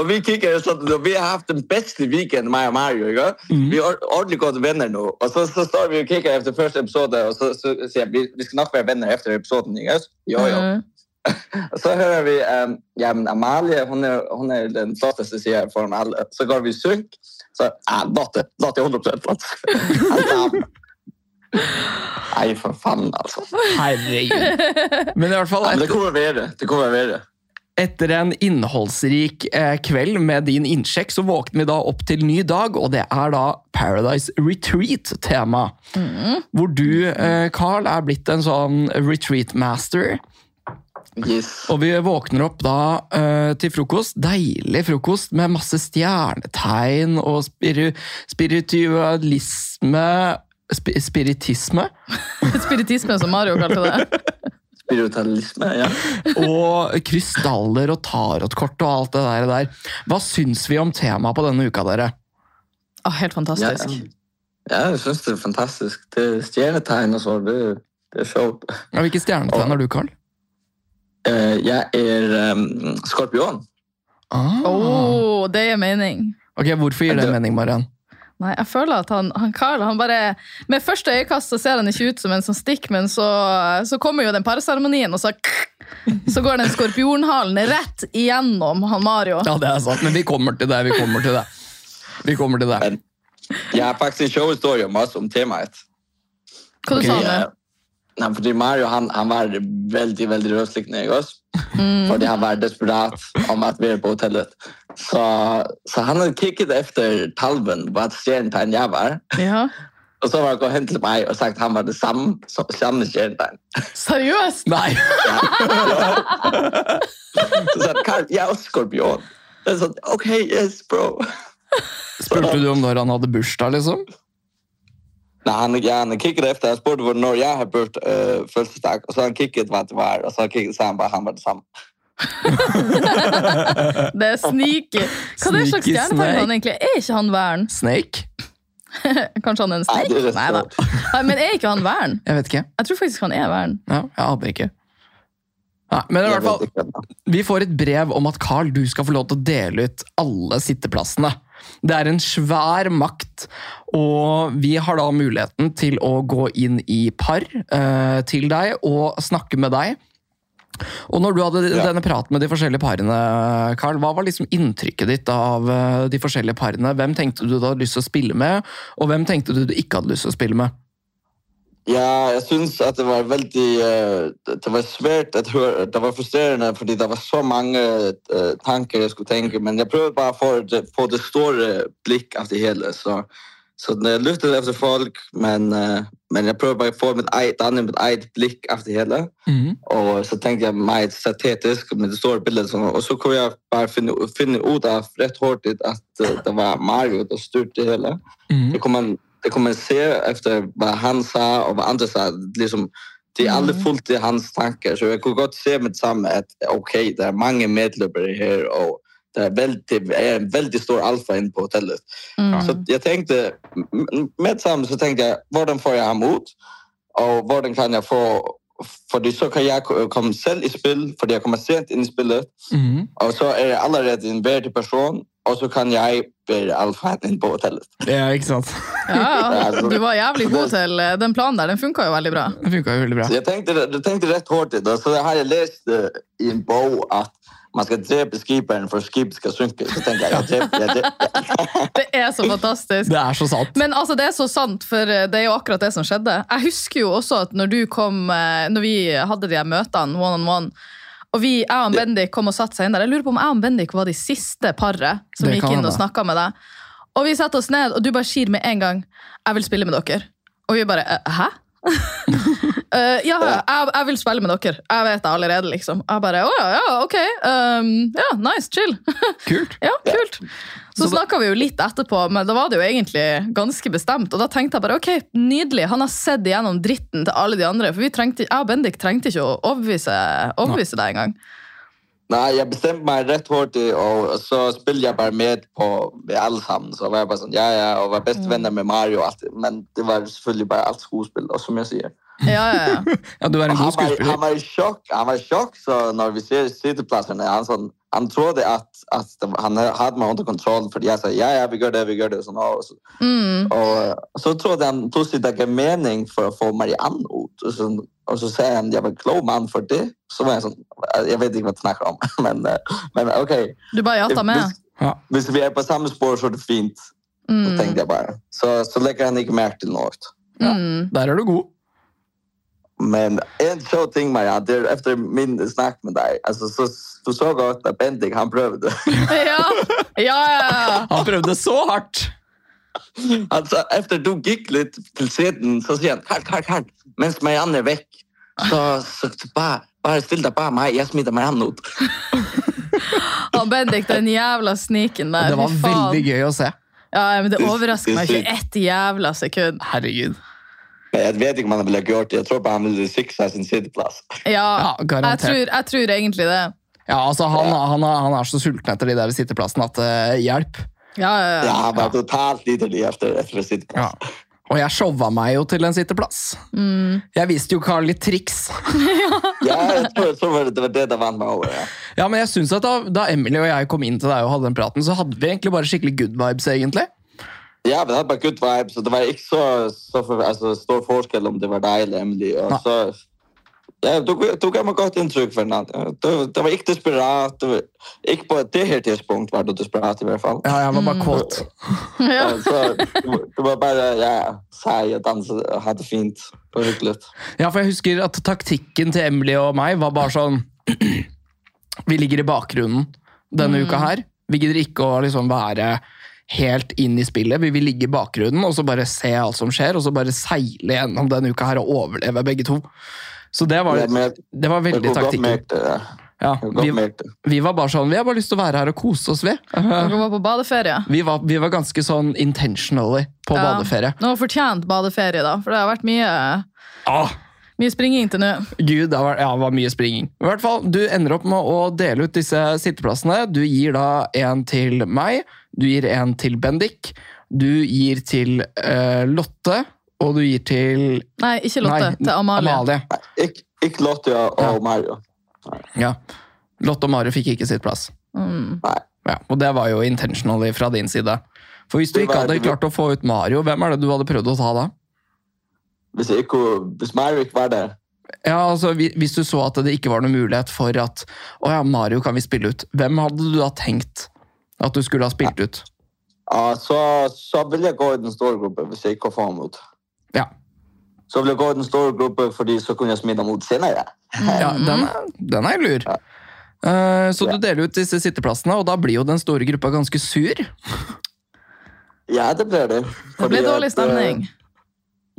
Speaker 3: og vi kikker sånn, og vi har haft den beste weekend, meg og Mario. Ikke? Vi er ord- ordentlig godt venner nå. Og så, så står vi og kikker efter første episode, og så, så sier jeg, vi, vi skal nok være venner efter episoden. Ikke? Jo, jo.
Speaker 2: Mm.
Speaker 3: Og så hører vi um, ja, men Amalie, hun er, hun er den flotteste, sier jeg foran alle. Så går vi i synk. Så ja, Lotte. Lotte er 100 flott. Altså, Nei, for faen, altså.
Speaker 1: Herregud. Men i hvert fall
Speaker 3: Ja, men det
Speaker 1: etter,
Speaker 3: kommer verre. Det kommer verre.
Speaker 1: etter en innholdsrik eh, kveld med din innsjekk, så våkner vi da opp til ny dag, og det er da Paradise Retreat-tema. Hvor du, eh, Carl, er blitt en sånn retreat-master.
Speaker 3: Yes.
Speaker 1: Og vi våkner opp da eh, til frokost. Deilig frokost med masse stjernetegn og spiru, spiritualisme spi, Spiritisme.
Speaker 2: <laughs> Spiritisme, som Mario kalte det.
Speaker 3: Spiritualisme, ja.
Speaker 1: Og krystaller og tarotkort og alt det der der. Hva syns vi om temaet på denne uka, dere?
Speaker 2: Ah, helt
Speaker 3: ja.
Speaker 2: fantastisk.
Speaker 3: Ja, jeg syns det er fantastisk. Det er stjernetegn og sånn. Det, det er showt.
Speaker 1: Ja, Hvilke stjernetegn er du, Carl?
Speaker 3: Eh, jeg er um, skorpion.
Speaker 1: Ah.
Speaker 2: Oh, det gir mening.
Speaker 1: Ok, Hvorfor gir det mening, Mariann?
Speaker 2: Nei, jeg føler at han, han Carl han bare Med første øyekast så ser han ikke ut som en som stikker, men så, så kommer jo den parseremonien, og så Så går den skorpionhalen rett igjennom han Mario.
Speaker 1: Ja, det er sant, men vi kommer til det. Vi kommer til det. Vi kommer til det.
Speaker 3: Jeg har faktisk en showhistorie om oss om temaet.
Speaker 2: Hva du
Speaker 1: Ok,
Speaker 2: sa du?
Speaker 3: Ja. Eh, Nei, fordi Mario han, han var veldig veldig rødsliten i oss. Fordi han var desperat om at vi er på hotellet. Så, så han hadde kikket etter talven, hva stjernetegn jeg var.
Speaker 2: Ja.
Speaker 3: Og så var han gått hen til meg og sagt han var det samme som samme stjernetegn.
Speaker 2: Seriøst?
Speaker 1: Nei!
Speaker 3: Så sa han Karl, jeg er også skorpion. Jeg sa OK, yes, bro.
Speaker 1: Spurte du om når han hadde bursdag, liksom?
Speaker 3: Nei, han, ja, han kikket etter. Jeg spurte når jeg har burt uh, fødselsdag, og så han kikket hva det var, og så kikket, sa han bare han var det samme.
Speaker 2: Det er sneaky. Hva er det slags
Speaker 1: Sneaky
Speaker 2: stjernetegn
Speaker 1: snake.
Speaker 2: han egentlig er? ikke han Vern?
Speaker 1: Snake?
Speaker 2: Kanskje han er en
Speaker 3: Nei, det
Speaker 2: sneik?
Speaker 3: er rett
Speaker 2: Nei da.
Speaker 3: og
Speaker 2: Nei, Men er ikke han Vern?
Speaker 1: Jeg vet ikke.
Speaker 2: Jeg tror faktisk han er Vern.
Speaker 1: Ja, jeg aner ikke. Nei, men i
Speaker 3: Jeg
Speaker 1: hvert fall,
Speaker 3: vet ikke.
Speaker 1: Vi får et brev om at Carl, du skal få lov til å dele ut alle sitteplassene. Det er en svær makt, og vi har da muligheten til å gå inn i par eh, til deg og snakke med deg. Og når du hadde
Speaker 3: Ja.
Speaker 1: denne praten med de forskjellige parene, Carl, hva var liksom inntrykket ditt av eh, de forskjellige parene? Hvem tenkte du du hadde lyst til å spille med, og hvem tenkte du du ikke hadde lyst til å spille med?
Speaker 3: Ja, jeg syns at det var veldig eh, Det det var svært å høre. Det var frustrerende fordi det var så mange eh, tanker jeg skulle tenke. Men jeg prøvde bare å få det, få det store blikk av det hele. Så, så jeg lyttet etter folk, men, eh, men jeg prøvde bare å få mitt eget, danne mitt eget blikk av det hele. Og så tenkte jeg meg strategisk med det store bildet. Sånn, og så kunne jeg bare finne, finne ut av rett hurtig at eh, det var Mario som styrte det hele.
Speaker 1: Mhm.
Speaker 3: Det kommer man, det kommer man se efter hva han sa og hva andre sa. Liksom, de alle
Speaker 2: Mhm.
Speaker 3: fulgte hans tanker. Så jeg kunne godt se med det samme at ok, det er mange medløpere her, og det er, veldig, er en veldig stor alfa inne på hotellet. Så
Speaker 2: Mm.
Speaker 3: jeg tenkte, m- m- med det samme så tenkte jeg, hvordan får jeg ham ut? Og hvordan kan jeg få fordi så kan jeg ko- komme selv i spill, fordi jeg kommer sent inn i spillet.
Speaker 1: Mhm.
Speaker 3: Og så er jeg allerede en verdig person, og så kan jeg være alfaen inn på hotellet.
Speaker 1: Ja, ikke sant?
Speaker 2: Ja, ja. Du var jævlig god til eh, den planen der. Den funka jo veldig bra.
Speaker 1: Det funka jo veldig bra.
Speaker 3: Så jeg tenkte, jeg tenkte rett hurtig, da. så jeg har jeg lest eh, i en bok at man skal drepe skiperen for skipet skal synke. Så tenker jeg, jeg dreper, jeg dreper.
Speaker 2: Det er så fantastisk.
Speaker 1: Det er så sant.
Speaker 2: Men altså, det er så sant, for eh, det er jo akkurat det som skjedde. Jeg husker jo også at når du kom, eh, når vi hadde de her møtene one on one, og vi, jeg og Bendik kom og satt seg inn der. Jeg lurer på om jeg og Bendik var de siste paret som
Speaker 1: Det
Speaker 2: gikk
Speaker 1: kan
Speaker 2: inn
Speaker 1: hende.
Speaker 2: og snakka med deg. Og vi satte oss ned, og du bare sier med en gang 'jeg vil spille med dere'. Og vi bare «Eh, 'hæ?' <laughs> Eh, ja, ja, jeg, jeg vil spille med dere. Jeg vet det allerede, liksom. Jeg bare 'å ja, ja, ok'. ehm, ja, nice, chill.
Speaker 1: Kult.
Speaker 2: Ja, kult. Så snakka vi jo litt etterpå, men da var det jo egentlig ganske bestemt. Og da tenkte jeg bare ok, nydelig, han har sett igjennom dritten til alle de andre. For vi trengte, jeg og Bendik trengte ikke å overbevise, overbevise deg engang.
Speaker 3: Nei, jeg bestemte meg rett hurtig, og så spiller jeg bare med på med alle sammen. Så var jeg bare sånn, ja, ja, og var bestevenner med Mario og alt. det. Men det var selvfølgelig bare alt skuespill, og som jeg sier.
Speaker 2: Ja, ja, ja.
Speaker 1: Ja, du er en
Speaker 3: Han
Speaker 1: god
Speaker 3: var, han
Speaker 1: skuespiller.
Speaker 3: var i sjokk, han var i sjokk, så når vi ser sitteplassene, han sånn, han trodde at, at det- han hadde meg under kontroll, fordi jeg sa, ja, ja, vi gjør det, vi gjør det, sånn, og så
Speaker 2: Mm.
Speaker 3: Og eh, så trodde han plutselig det gav mening for å få Marianne ut. Og så, og så sa han jeg var en klok mann for det. Så var jeg sånn Jeg vet ikke hva du snakker om, <laughs> men, eh, men OK.
Speaker 2: Du bare jatta med.
Speaker 3: Hvis,
Speaker 1: Ja.
Speaker 3: hvis vi er på samme spor, så er det fint. Så
Speaker 2: Mm.
Speaker 3: tenkte jeg bare. Så, så legger han ikke merke til noe.
Speaker 2: Mm.
Speaker 1: Der er du god.
Speaker 3: Men en sjå ting, Marianne, det er etter min snakk med deg altså, så, Du så godt at Bendik han prøvde.
Speaker 2: Mm. <laughs> Ja, ja, ja.
Speaker 1: Han prøvde så hardt.
Speaker 3: Altså, efter du gikk litt til siden, så sier han Karl, Karl, Karl, mens Marianne er vekk, så, så, så bare, bare still deg bare meg, jeg smitter Marianne ut.
Speaker 2: Han Bendik, den jævla sniken der.
Speaker 1: Det var
Speaker 2: fy faen.
Speaker 1: veldig gøy å se.
Speaker 2: Ja, ja, men det overrasker meg ikke ett jævla sekund.
Speaker 1: Herregud.
Speaker 3: Men jeg vet ikke om han ville gjort det, jeg tror bare han ville sikre seg sin sideplass.
Speaker 1: Ja,
Speaker 2: Ja, Ah, jeg
Speaker 1: garantert.
Speaker 2: tror, jeg tror egentlig det.
Speaker 1: Ja, altså, han, han, er- han er så sulten etter de der sitteplassene at eh, hjelp.
Speaker 2: Ja, ja,
Speaker 3: Ja,
Speaker 2: ja.
Speaker 3: han var totalt liderlig efter, efter sitteplass.
Speaker 1: Og jeg showa meg jo til en sitteplass.
Speaker 2: Mm.
Speaker 1: Jeg viste jo Carl litt triks.
Speaker 3: Ja, jeg tror, jeg tror det var det det vant meg over, ja.
Speaker 1: Ja, men jeg synes at da, da Emily og jeg kom inn til deg og hadde den praten, så hadde vi egentlig bare skikkelig good vibes, egentlig.
Speaker 3: Ja, men det var good vibes, og det var ikke så, så for, altså, stor forskjell om det var deg eller Emily. Og
Speaker 1: Nei.
Speaker 3: så, ja, du, du ga meg godt inntrykk, Fernand. Det, det var ikke desperat. Det var, ikke på det her tidspunkt var du desperat, i hvert fall.
Speaker 1: Ja, jeg var
Speaker 2: Mm.
Speaker 1: bare kåt.
Speaker 2: ja.
Speaker 3: Og Så, du, du var bare ja, seig og danset og hadde fint og ryklet.
Speaker 1: Ja, for jeg husker at taktikken til Emily og meg var bare sånn <clears throat> Vi ligger i bakgrunnen denne uka her. Vi gidder ikke å liksom være helt inn i spillet. Vi vil ligge i bakgrunnen og så bare se alt som skjer, og så bare seile gjennom denne uka her og overleve begge to. Så det var,
Speaker 3: Ja, men jeg-
Speaker 1: det var veldig taktikken.
Speaker 3: det. ja.
Speaker 1: Ja,
Speaker 3: Jeg
Speaker 1: vi,
Speaker 3: godt merket det.
Speaker 1: vi var bare sånn Vi har bare lyst til å være her og kose oss, vi.
Speaker 2: Dere var på badeferie.
Speaker 1: Vi var, vi var ganske sånn intentionally på
Speaker 2: Ja.
Speaker 1: badeferie.
Speaker 2: Nå har jeg fortjent badeferie, da. For det har vært mye,
Speaker 1: Ah,
Speaker 2: mye springing til nå.
Speaker 1: Gud, det var, ja, det var mye springing. I hvert fall, Du ender opp med å dele ut disse sitteplassene. Du gir da en til meg, du gir en til Bendik, du gir til eh, Lotte, og du gir til
Speaker 2: Nei, ikke Lotte.
Speaker 1: Nei,
Speaker 2: til Amalie.
Speaker 3: Ikke, ikke Lotte og, og Mario.
Speaker 1: Ja. Lotte og Mario fikk ikke sittplass.
Speaker 2: Mm.
Speaker 3: Nei.
Speaker 1: Ja, og det var jo intentionally fra din side. For hvis du
Speaker 3: Det
Speaker 1: ikke
Speaker 3: var-
Speaker 1: hadde klart å få ut Mario, hvem er det du hadde prøvd å ta da?
Speaker 3: Hvis, jeg ikke, hvis Mario ikke var der
Speaker 1: Ja, altså, hvi- Hvis du så at det ikke var noen mulighet for at å ja, Mario kan vi spille ut, hvem hadde du da tenkt at du skulle ha spilt ut?
Speaker 3: Ja, så, så vil jeg gå i den store gruppen hvis jeg ikke får ham ut.
Speaker 1: Ja.
Speaker 3: Så vil jeg gå i den store gruppen, fordi så kunne jeg smide ham ut senere.
Speaker 1: Ja, den er, den er lur. Eh, så du deler ut disse sitteplassene, og da blir jo den store gruppa ganske sur.
Speaker 3: Ja, det ble det.
Speaker 2: <laughs> Det
Speaker 3: Fordi
Speaker 2: ble
Speaker 3: at,
Speaker 2: dårlig
Speaker 3: eh,
Speaker 2: stemning.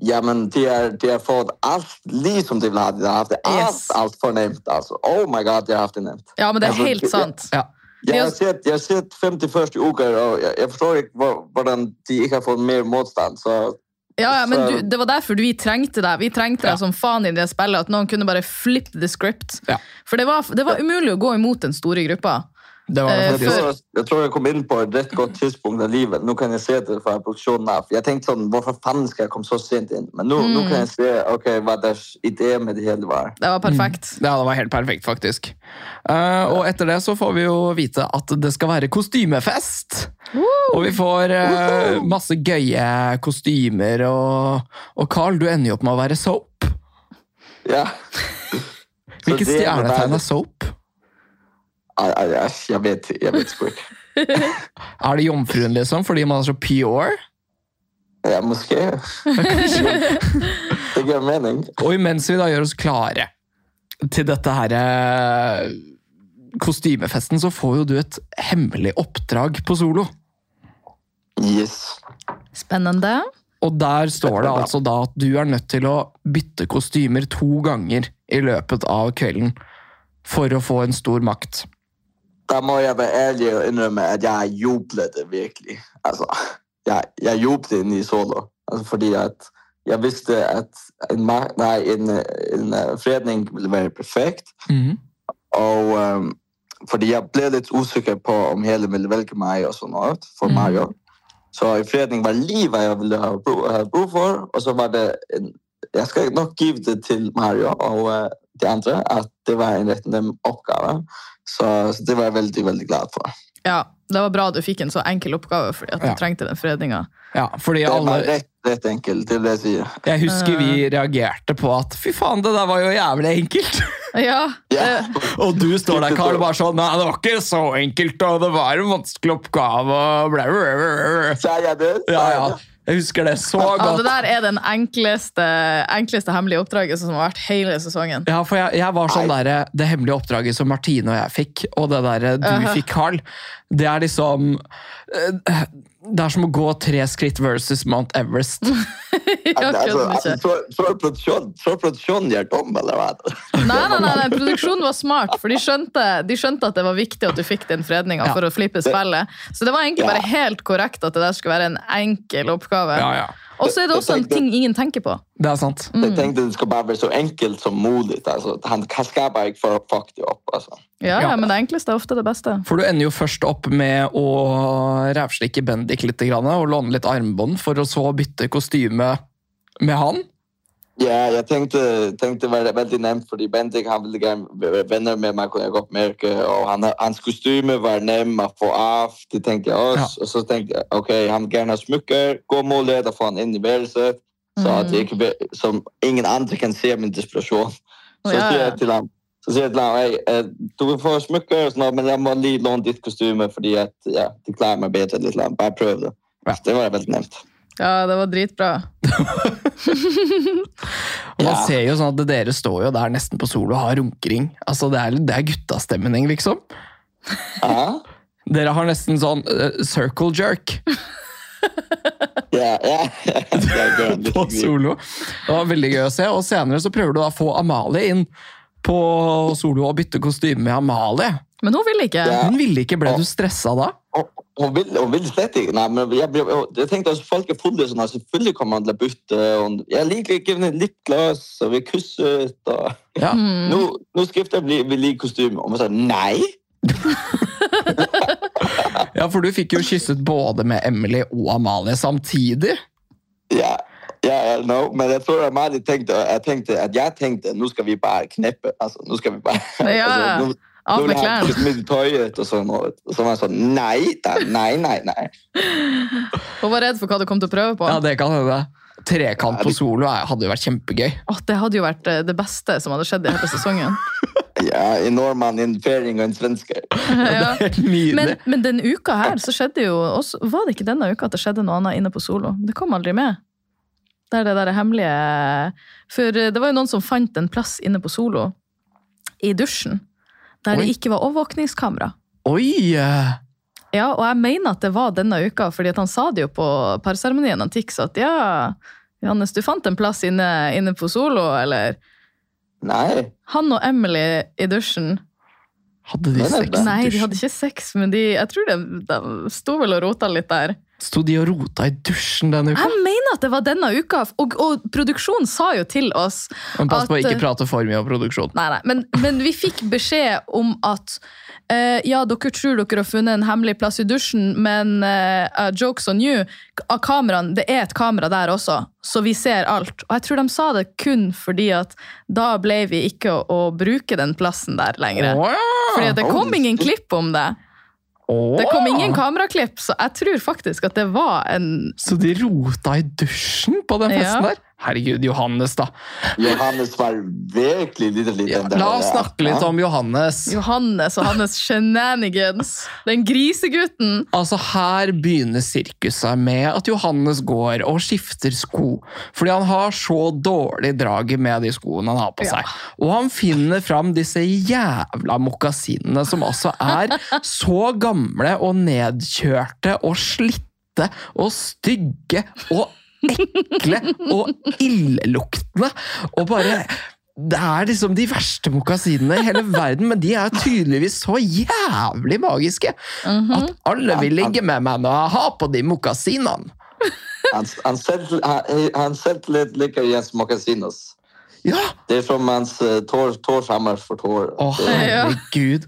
Speaker 3: Ja, men de har, de har fått alt liv som de ville ha. De har haft det alt,
Speaker 2: Yes.
Speaker 3: alt for nemt. Altså. Oh my god, de har haft det nemt.
Speaker 2: Ja, men det er
Speaker 3: altså,
Speaker 2: helt
Speaker 3: det-
Speaker 2: sant.
Speaker 1: Ja.
Speaker 3: Jeg har
Speaker 2: Yes.
Speaker 3: sett, jeg har sett 51 uker, og jeg, jeg forstår ikke hvor- hvordan de ikke har fått mer motstand. Så
Speaker 2: Ja, ja, men
Speaker 3: så-
Speaker 2: du, Det var derfor vi trengte deg Vi trengte
Speaker 1: Ja.
Speaker 2: deg som faen i det spillet. At noen kunne bare flippe the script.
Speaker 1: Ja.
Speaker 2: For det var, det var umulig å gå imot den store gruppa.
Speaker 1: Det var det
Speaker 2: Eh,
Speaker 3: Jeg
Speaker 1: faktisk.
Speaker 2: før-
Speaker 3: tror, sånn jeg tror jeg kom inn på et rett godt tidspunkt av livet. Nå kan jeg se det fra produksjonen av. Jeg tenkte sånn, hvorfor faen skal jeg komme så sent inn? Men nå, nå kan jeg
Speaker 2: Mm.
Speaker 3: se ok, hva deres idé med det hele var.
Speaker 2: Det var perfekt.
Speaker 1: Ja, det var helt perfekt, faktisk. Eh, og etter det så får vi jo vite at det skal være kostymefest! Og vi får eh, masse gøye kostymer, og, og Carl, du ender jo opp med å være Soap.
Speaker 3: Ja. Så
Speaker 1: Hvilket
Speaker 3: det må
Speaker 1: stjernetegn
Speaker 3: være-
Speaker 1: er Soap?
Speaker 3: Ai, ai, ai, Jeg vet, jeg vet sgu ikke.
Speaker 1: Er det jomfruen, liksom, fordi man er så pure?
Speaker 3: Ja, måske.
Speaker 2: <laughs>
Speaker 3: Det gir mening.
Speaker 1: Og imens vi da gjør oss klare til dette her eh, kostymefesten, så får jo du et hemmelig oppdrag på solo.
Speaker 3: Yes.
Speaker 2: Spennende.
Speaker 1: Og der står det altså da at du er nødt til å bytte kostymer to ganger i løpet av kvelden for å få en stor makt.
Speaker 3: Der må jeg være ærlig og innrømme at jeg jublet det virkelig. Altså, jeg, jeg jublet inn i solo. Altså, fordi at jeg visste at en, ma- nei, en, en eh, fredning ville være perfekt. Og ehm, fordi jeg ble litt usikker på om hele ville velge meg og sånn alt for
Speaker 1: Mhm.
Speaker 3: Mario. Så en fredning var livet jeg ville ha brug, ha brug for. Og så var det en, Jeg skal nok give det til Mario og eh, de andre at det var en rett nem oppgave. Så, så det var jeg veldig, veldig glad for.
Speaker 2: Ja, det var bra du fikk en så enkel oppgave, fordi at du
Speaker 1: Ja.
Speaker 2: trengte den fredninga.
Speaker 1: Ja, fordi
Speaker 3: Det var
Speaker 1: alle,
Speaker 3: rett, rett enkelt, det er det jeg
Speaker 1: <laughs>
Speaker 3: sier.
Speaker 1: jeg husker vi reagerte på at fy faen, det der var jo jævlig enkelt.
Speaker 2: Ja,
Speaker 3: Ja. <laughs>
Speaker 2: det-
Speaker 1: Og du står der, Karl, og bare sånn nei, det var ikke så enkelt, og det var en vanskelig oppgave, og bla, bla, bla, bla.
Speaker 3: Sa jeg det? Altså, Sa
Speaker 1: Ja,
Speaker 3: jeg
Speaker 1: ja.
Speaker 3: det?
Speaker 1: Jeg husker det så
Speaker 2: ja, det
Speaker 1: godt.
Speaker 2: der er den enkleste, enkleste hemmelige oppdraget som har vært hele sesongen.
Speaker 1: Ja, for jeg, jeg var sånn
Speaker 3: Nei.
Speaker 1: der, Det hemmelige oppdraget som Martine og jeg fikk, og det der du
Speaker 2: Aha.
Speaker 1: fikk, Carl, det er liksom eh, Det er som å gå tre skritt versus Mount Everest.
Speaker 2: Jeg
Speaker 3: Altså,
Speaker 2: kødder
Speaker 3: altså,
Speaker 2: ikke.
Speaker 3: tror- tror produksjonen- Tror produksjonen jeg er dum, eller hva?
Speaker 2: <laughs> Nei, nei, nei, nei, produksjonen var smart, for de skjønte, de skjønte at det var viktig at du fikk den fredninga
Speaker 1: Ja.
Speaker 2: for å flippe spillet. Så det var egentlig bare
Speaker 3: Ja.
Speaker 2: helt korrekt at det der skulle være en enkel oppgave.
Speaker 1: Ja, ja.
Speaker 2: Og så er det også en ting ingen tenker på.
Speaker 1: Det er sant.
Speaker 3: Jeg tenkte det skulle bare være så enkelt som mulig. Altså, han skal bare ikke få fucket det opp. Altså.
Speaker 1: Ja.
Speaker 2: Ja, ja, men det enkleste er ofte det beste.
Speaker 1: For du ender jo først opp med å rævslikke Bendik litt grann, og låne litt armbånd, for å så bytte kostyme med han.
Speaker 3: Ja, jeg tenkte, tenkte det var veldig nemt, fordi Bendik han ville gjerne være venner med meg, kunne jeg godt merke. Og han, hans kostyme var nem å få av. Det tenkte jeg også. Og så tenkte jeg ok, han vil gjerne ha smykker. God mulighet å få han inn i værelset. Så at jeg ikke, be- som ingen andre kan se min desperasjon. Så
Speaker 2: Ja,
Speaker 3: sier
Speaker 2: ja.
Speaker 3: jeg til ham så sier jeg til ham, «Hei, eh, du vil få smykker, og sånn, men jeg må lige låne ditt kostyme, fordi at, ja, det klarer meg bedre litt. eller annet. Bare prøv det.
Speaker 1: Ja.
Speaker 3: Så Det var veldig nemt.
Speaker 2: Ja, det var dritbra.
Speaker 1: Og man
Speaker 3: Ja.
Speaker 1: ser jo sånn at dere står jo der nesten på solo og har runkering. Altså, det er, det er guttastemning, liksom.
Speaker 3: Ja.
Speaker 1: Dere har nesten sånn eh, circle jerk.
Speaker 3: Ja, ja. <laughs> Jeg gjør
Speaker 1: <laughs>
Speaker 3: en
Speaker 1: på
Speaker 3: liten grin.
Speaker 1: solo. Det var veldig gøy å se. Og senere så prøver du da å få Amalie inn på solo og bytte kostyme med Amalie.
Speaker 2: Men hun ville ikke.
Speaker 3: Ja.
Speaker 1: Hun ville ikke. Ble du stressa da?
Speaker 3: Hun- Hun vil, hun vil slett ikke. Nei, men jeg, blir- jeg tenkte at folk er fulle, sånn, at selvfølgelig kommer han til å bytte. og Jeg liker ikke henne litt glass, og vi kusset. Og...
Speaker 1: Ja.
Speaker 2: Mm.
Speaker 3: Nå, nå skifter vi, vi like kostyme. Og hun sa nei.
Speaker 1: ja, for du fikk jo kysset både med Emily og Amalie samtidig.
Speaker 3: Ja, ja, ja, no. Men jeg tror Amalie tenkte, jeg tenkte at jeg tenkte nå skal vi bare kneppe. Altså, nå skal vi bare
Speaker 2: Ja,
Speaker 3: altså, nå,
Speaker 2: Av
Speaker 3: nå vil
Speaker 2: med
Speaker 3: han
Speaker 2: klærne.
Speaker 3: ikke smide tøyet og sånn. Og og så var jeg sånn nei, da, nei, nei. nei.
Speaker 2: Hun var redd for hva du kom til å prøve på.
Speaker 1: Ja, det kan hende. Trekant på solo er- hadde jo vært kjempegøy. <laughs>
Speaker 2: Åh, det hadde jo vært eh, det beste som hadde skjedd i hele sesongen. <laughs>
Speaker 3: Ja, en nordmann, en færing og en svensker.
Speaker 2: ja.
Speaker 1: Helt
Speaker 2: Men,
Speaker 1: nydelig.
Speaker 2: men den uka her så skjedde jo også, Var det ikke denne uka at det skjedde noe annet inne på Solo? Det kom aldri med. Det er det der hemmelige For det var jo noen som fant en plass inne på Solo, i dusjen, der
Speaker 1: Oi.
Speaker 2: det ikke var overvåkningskamera.
Speaker 1: Oi! eh,
Speaker 2: Ja, og jeg mener at det var denne uka, fordi at han sa det jo på parseremonien han Tix, at ja, Johannes, du fant en plass inne, inne på Solo, eller
Speaker 3: Nei.
Speaker 2: Han og Emily i dusjen.
Speaker 1: Hadde de
Speaker 3: Nei, nei,
Speaker 1: sex? i
Speaker 2: Nei, de
Speaker 1: dusjen?
Speaker 2: hadde ikke sex, men de, jeg tror de, de sto vel og rota litt der.
Speaker 1: Sto de og rota i dusjen denne uka?
Speaker 2: Jeg mener at det var denne uka, og, og produksjonen sa jo til oss
Speaker 1: Men pass på å
Speaker 2: At,
Speaker 1: ikke
Speaker 2: eh,
Speaker 1: prate for mye om produksjon.
Speaker 2: Nei, nei, men, men vi fikk beskjed om at eh, ja, dere tror dere har funnet en hemmelig plass i dusjen, men eh, eh, jokes on you, k- av kameraen, det er et kamera der også, så vi ser alt. Og jeg tror de sa det kun fordi at da ble vi ikke å, å bruke den plassen der lenger.
Speaker 1: Åh, ja.
Speaker 2: Fordi det kom
Speaker 3: oh.
Speaker 2: ingen klipp om det.
Speaker 1: Åh.
Speaker 2: Det kom ingen kameraklipp, så jeg tror faktisk at det var en
Speaker 1: Så de rota i dusjen på den festen
Speaker 2: Ja.
Speaker 1: der? Herregud, Johannes, da.
Speaker 3: Johannes var virkelig litt
Speaker 1: Ja,
Speaker 3: liten. der,
Speaker 1: la oss
Speaker 3: ja.
Speaker 1: snakke litt om Johannes.
Speaker 2: Johannes og hans shenanigans. Den grisegutten.
Speaker 1: Altså Her begynner sirkuset med at Johannes går og skifter sko. Fordi han har så dårlig draget med de skoene han har på
Speaker 2: Ja.
Speaker 1: seg. Og han finner fram disse jævla mokasinene, som altså
Speaker 2: <laughs>
Speaker 1: er så gamle og nedkjørte og slitte og stygge og ekle og illeluktende. Og bare Det er liksom de verste mokasinene i hele verden, men de er tydeligvis så jævlig magiske.
Speaker 2: Mhm.
Speaker 1: At alle vil ligge med meg når jeg har på de mokasinene.
Speaker 3: Han, han, selv- han, eh, han selv litt liker Jens Mokasinos.
Speaker 1: Ja!
Speaker 3: Det er som hans eh, tår, tår fremmer for tår.
Speaker 1: Å, herregud.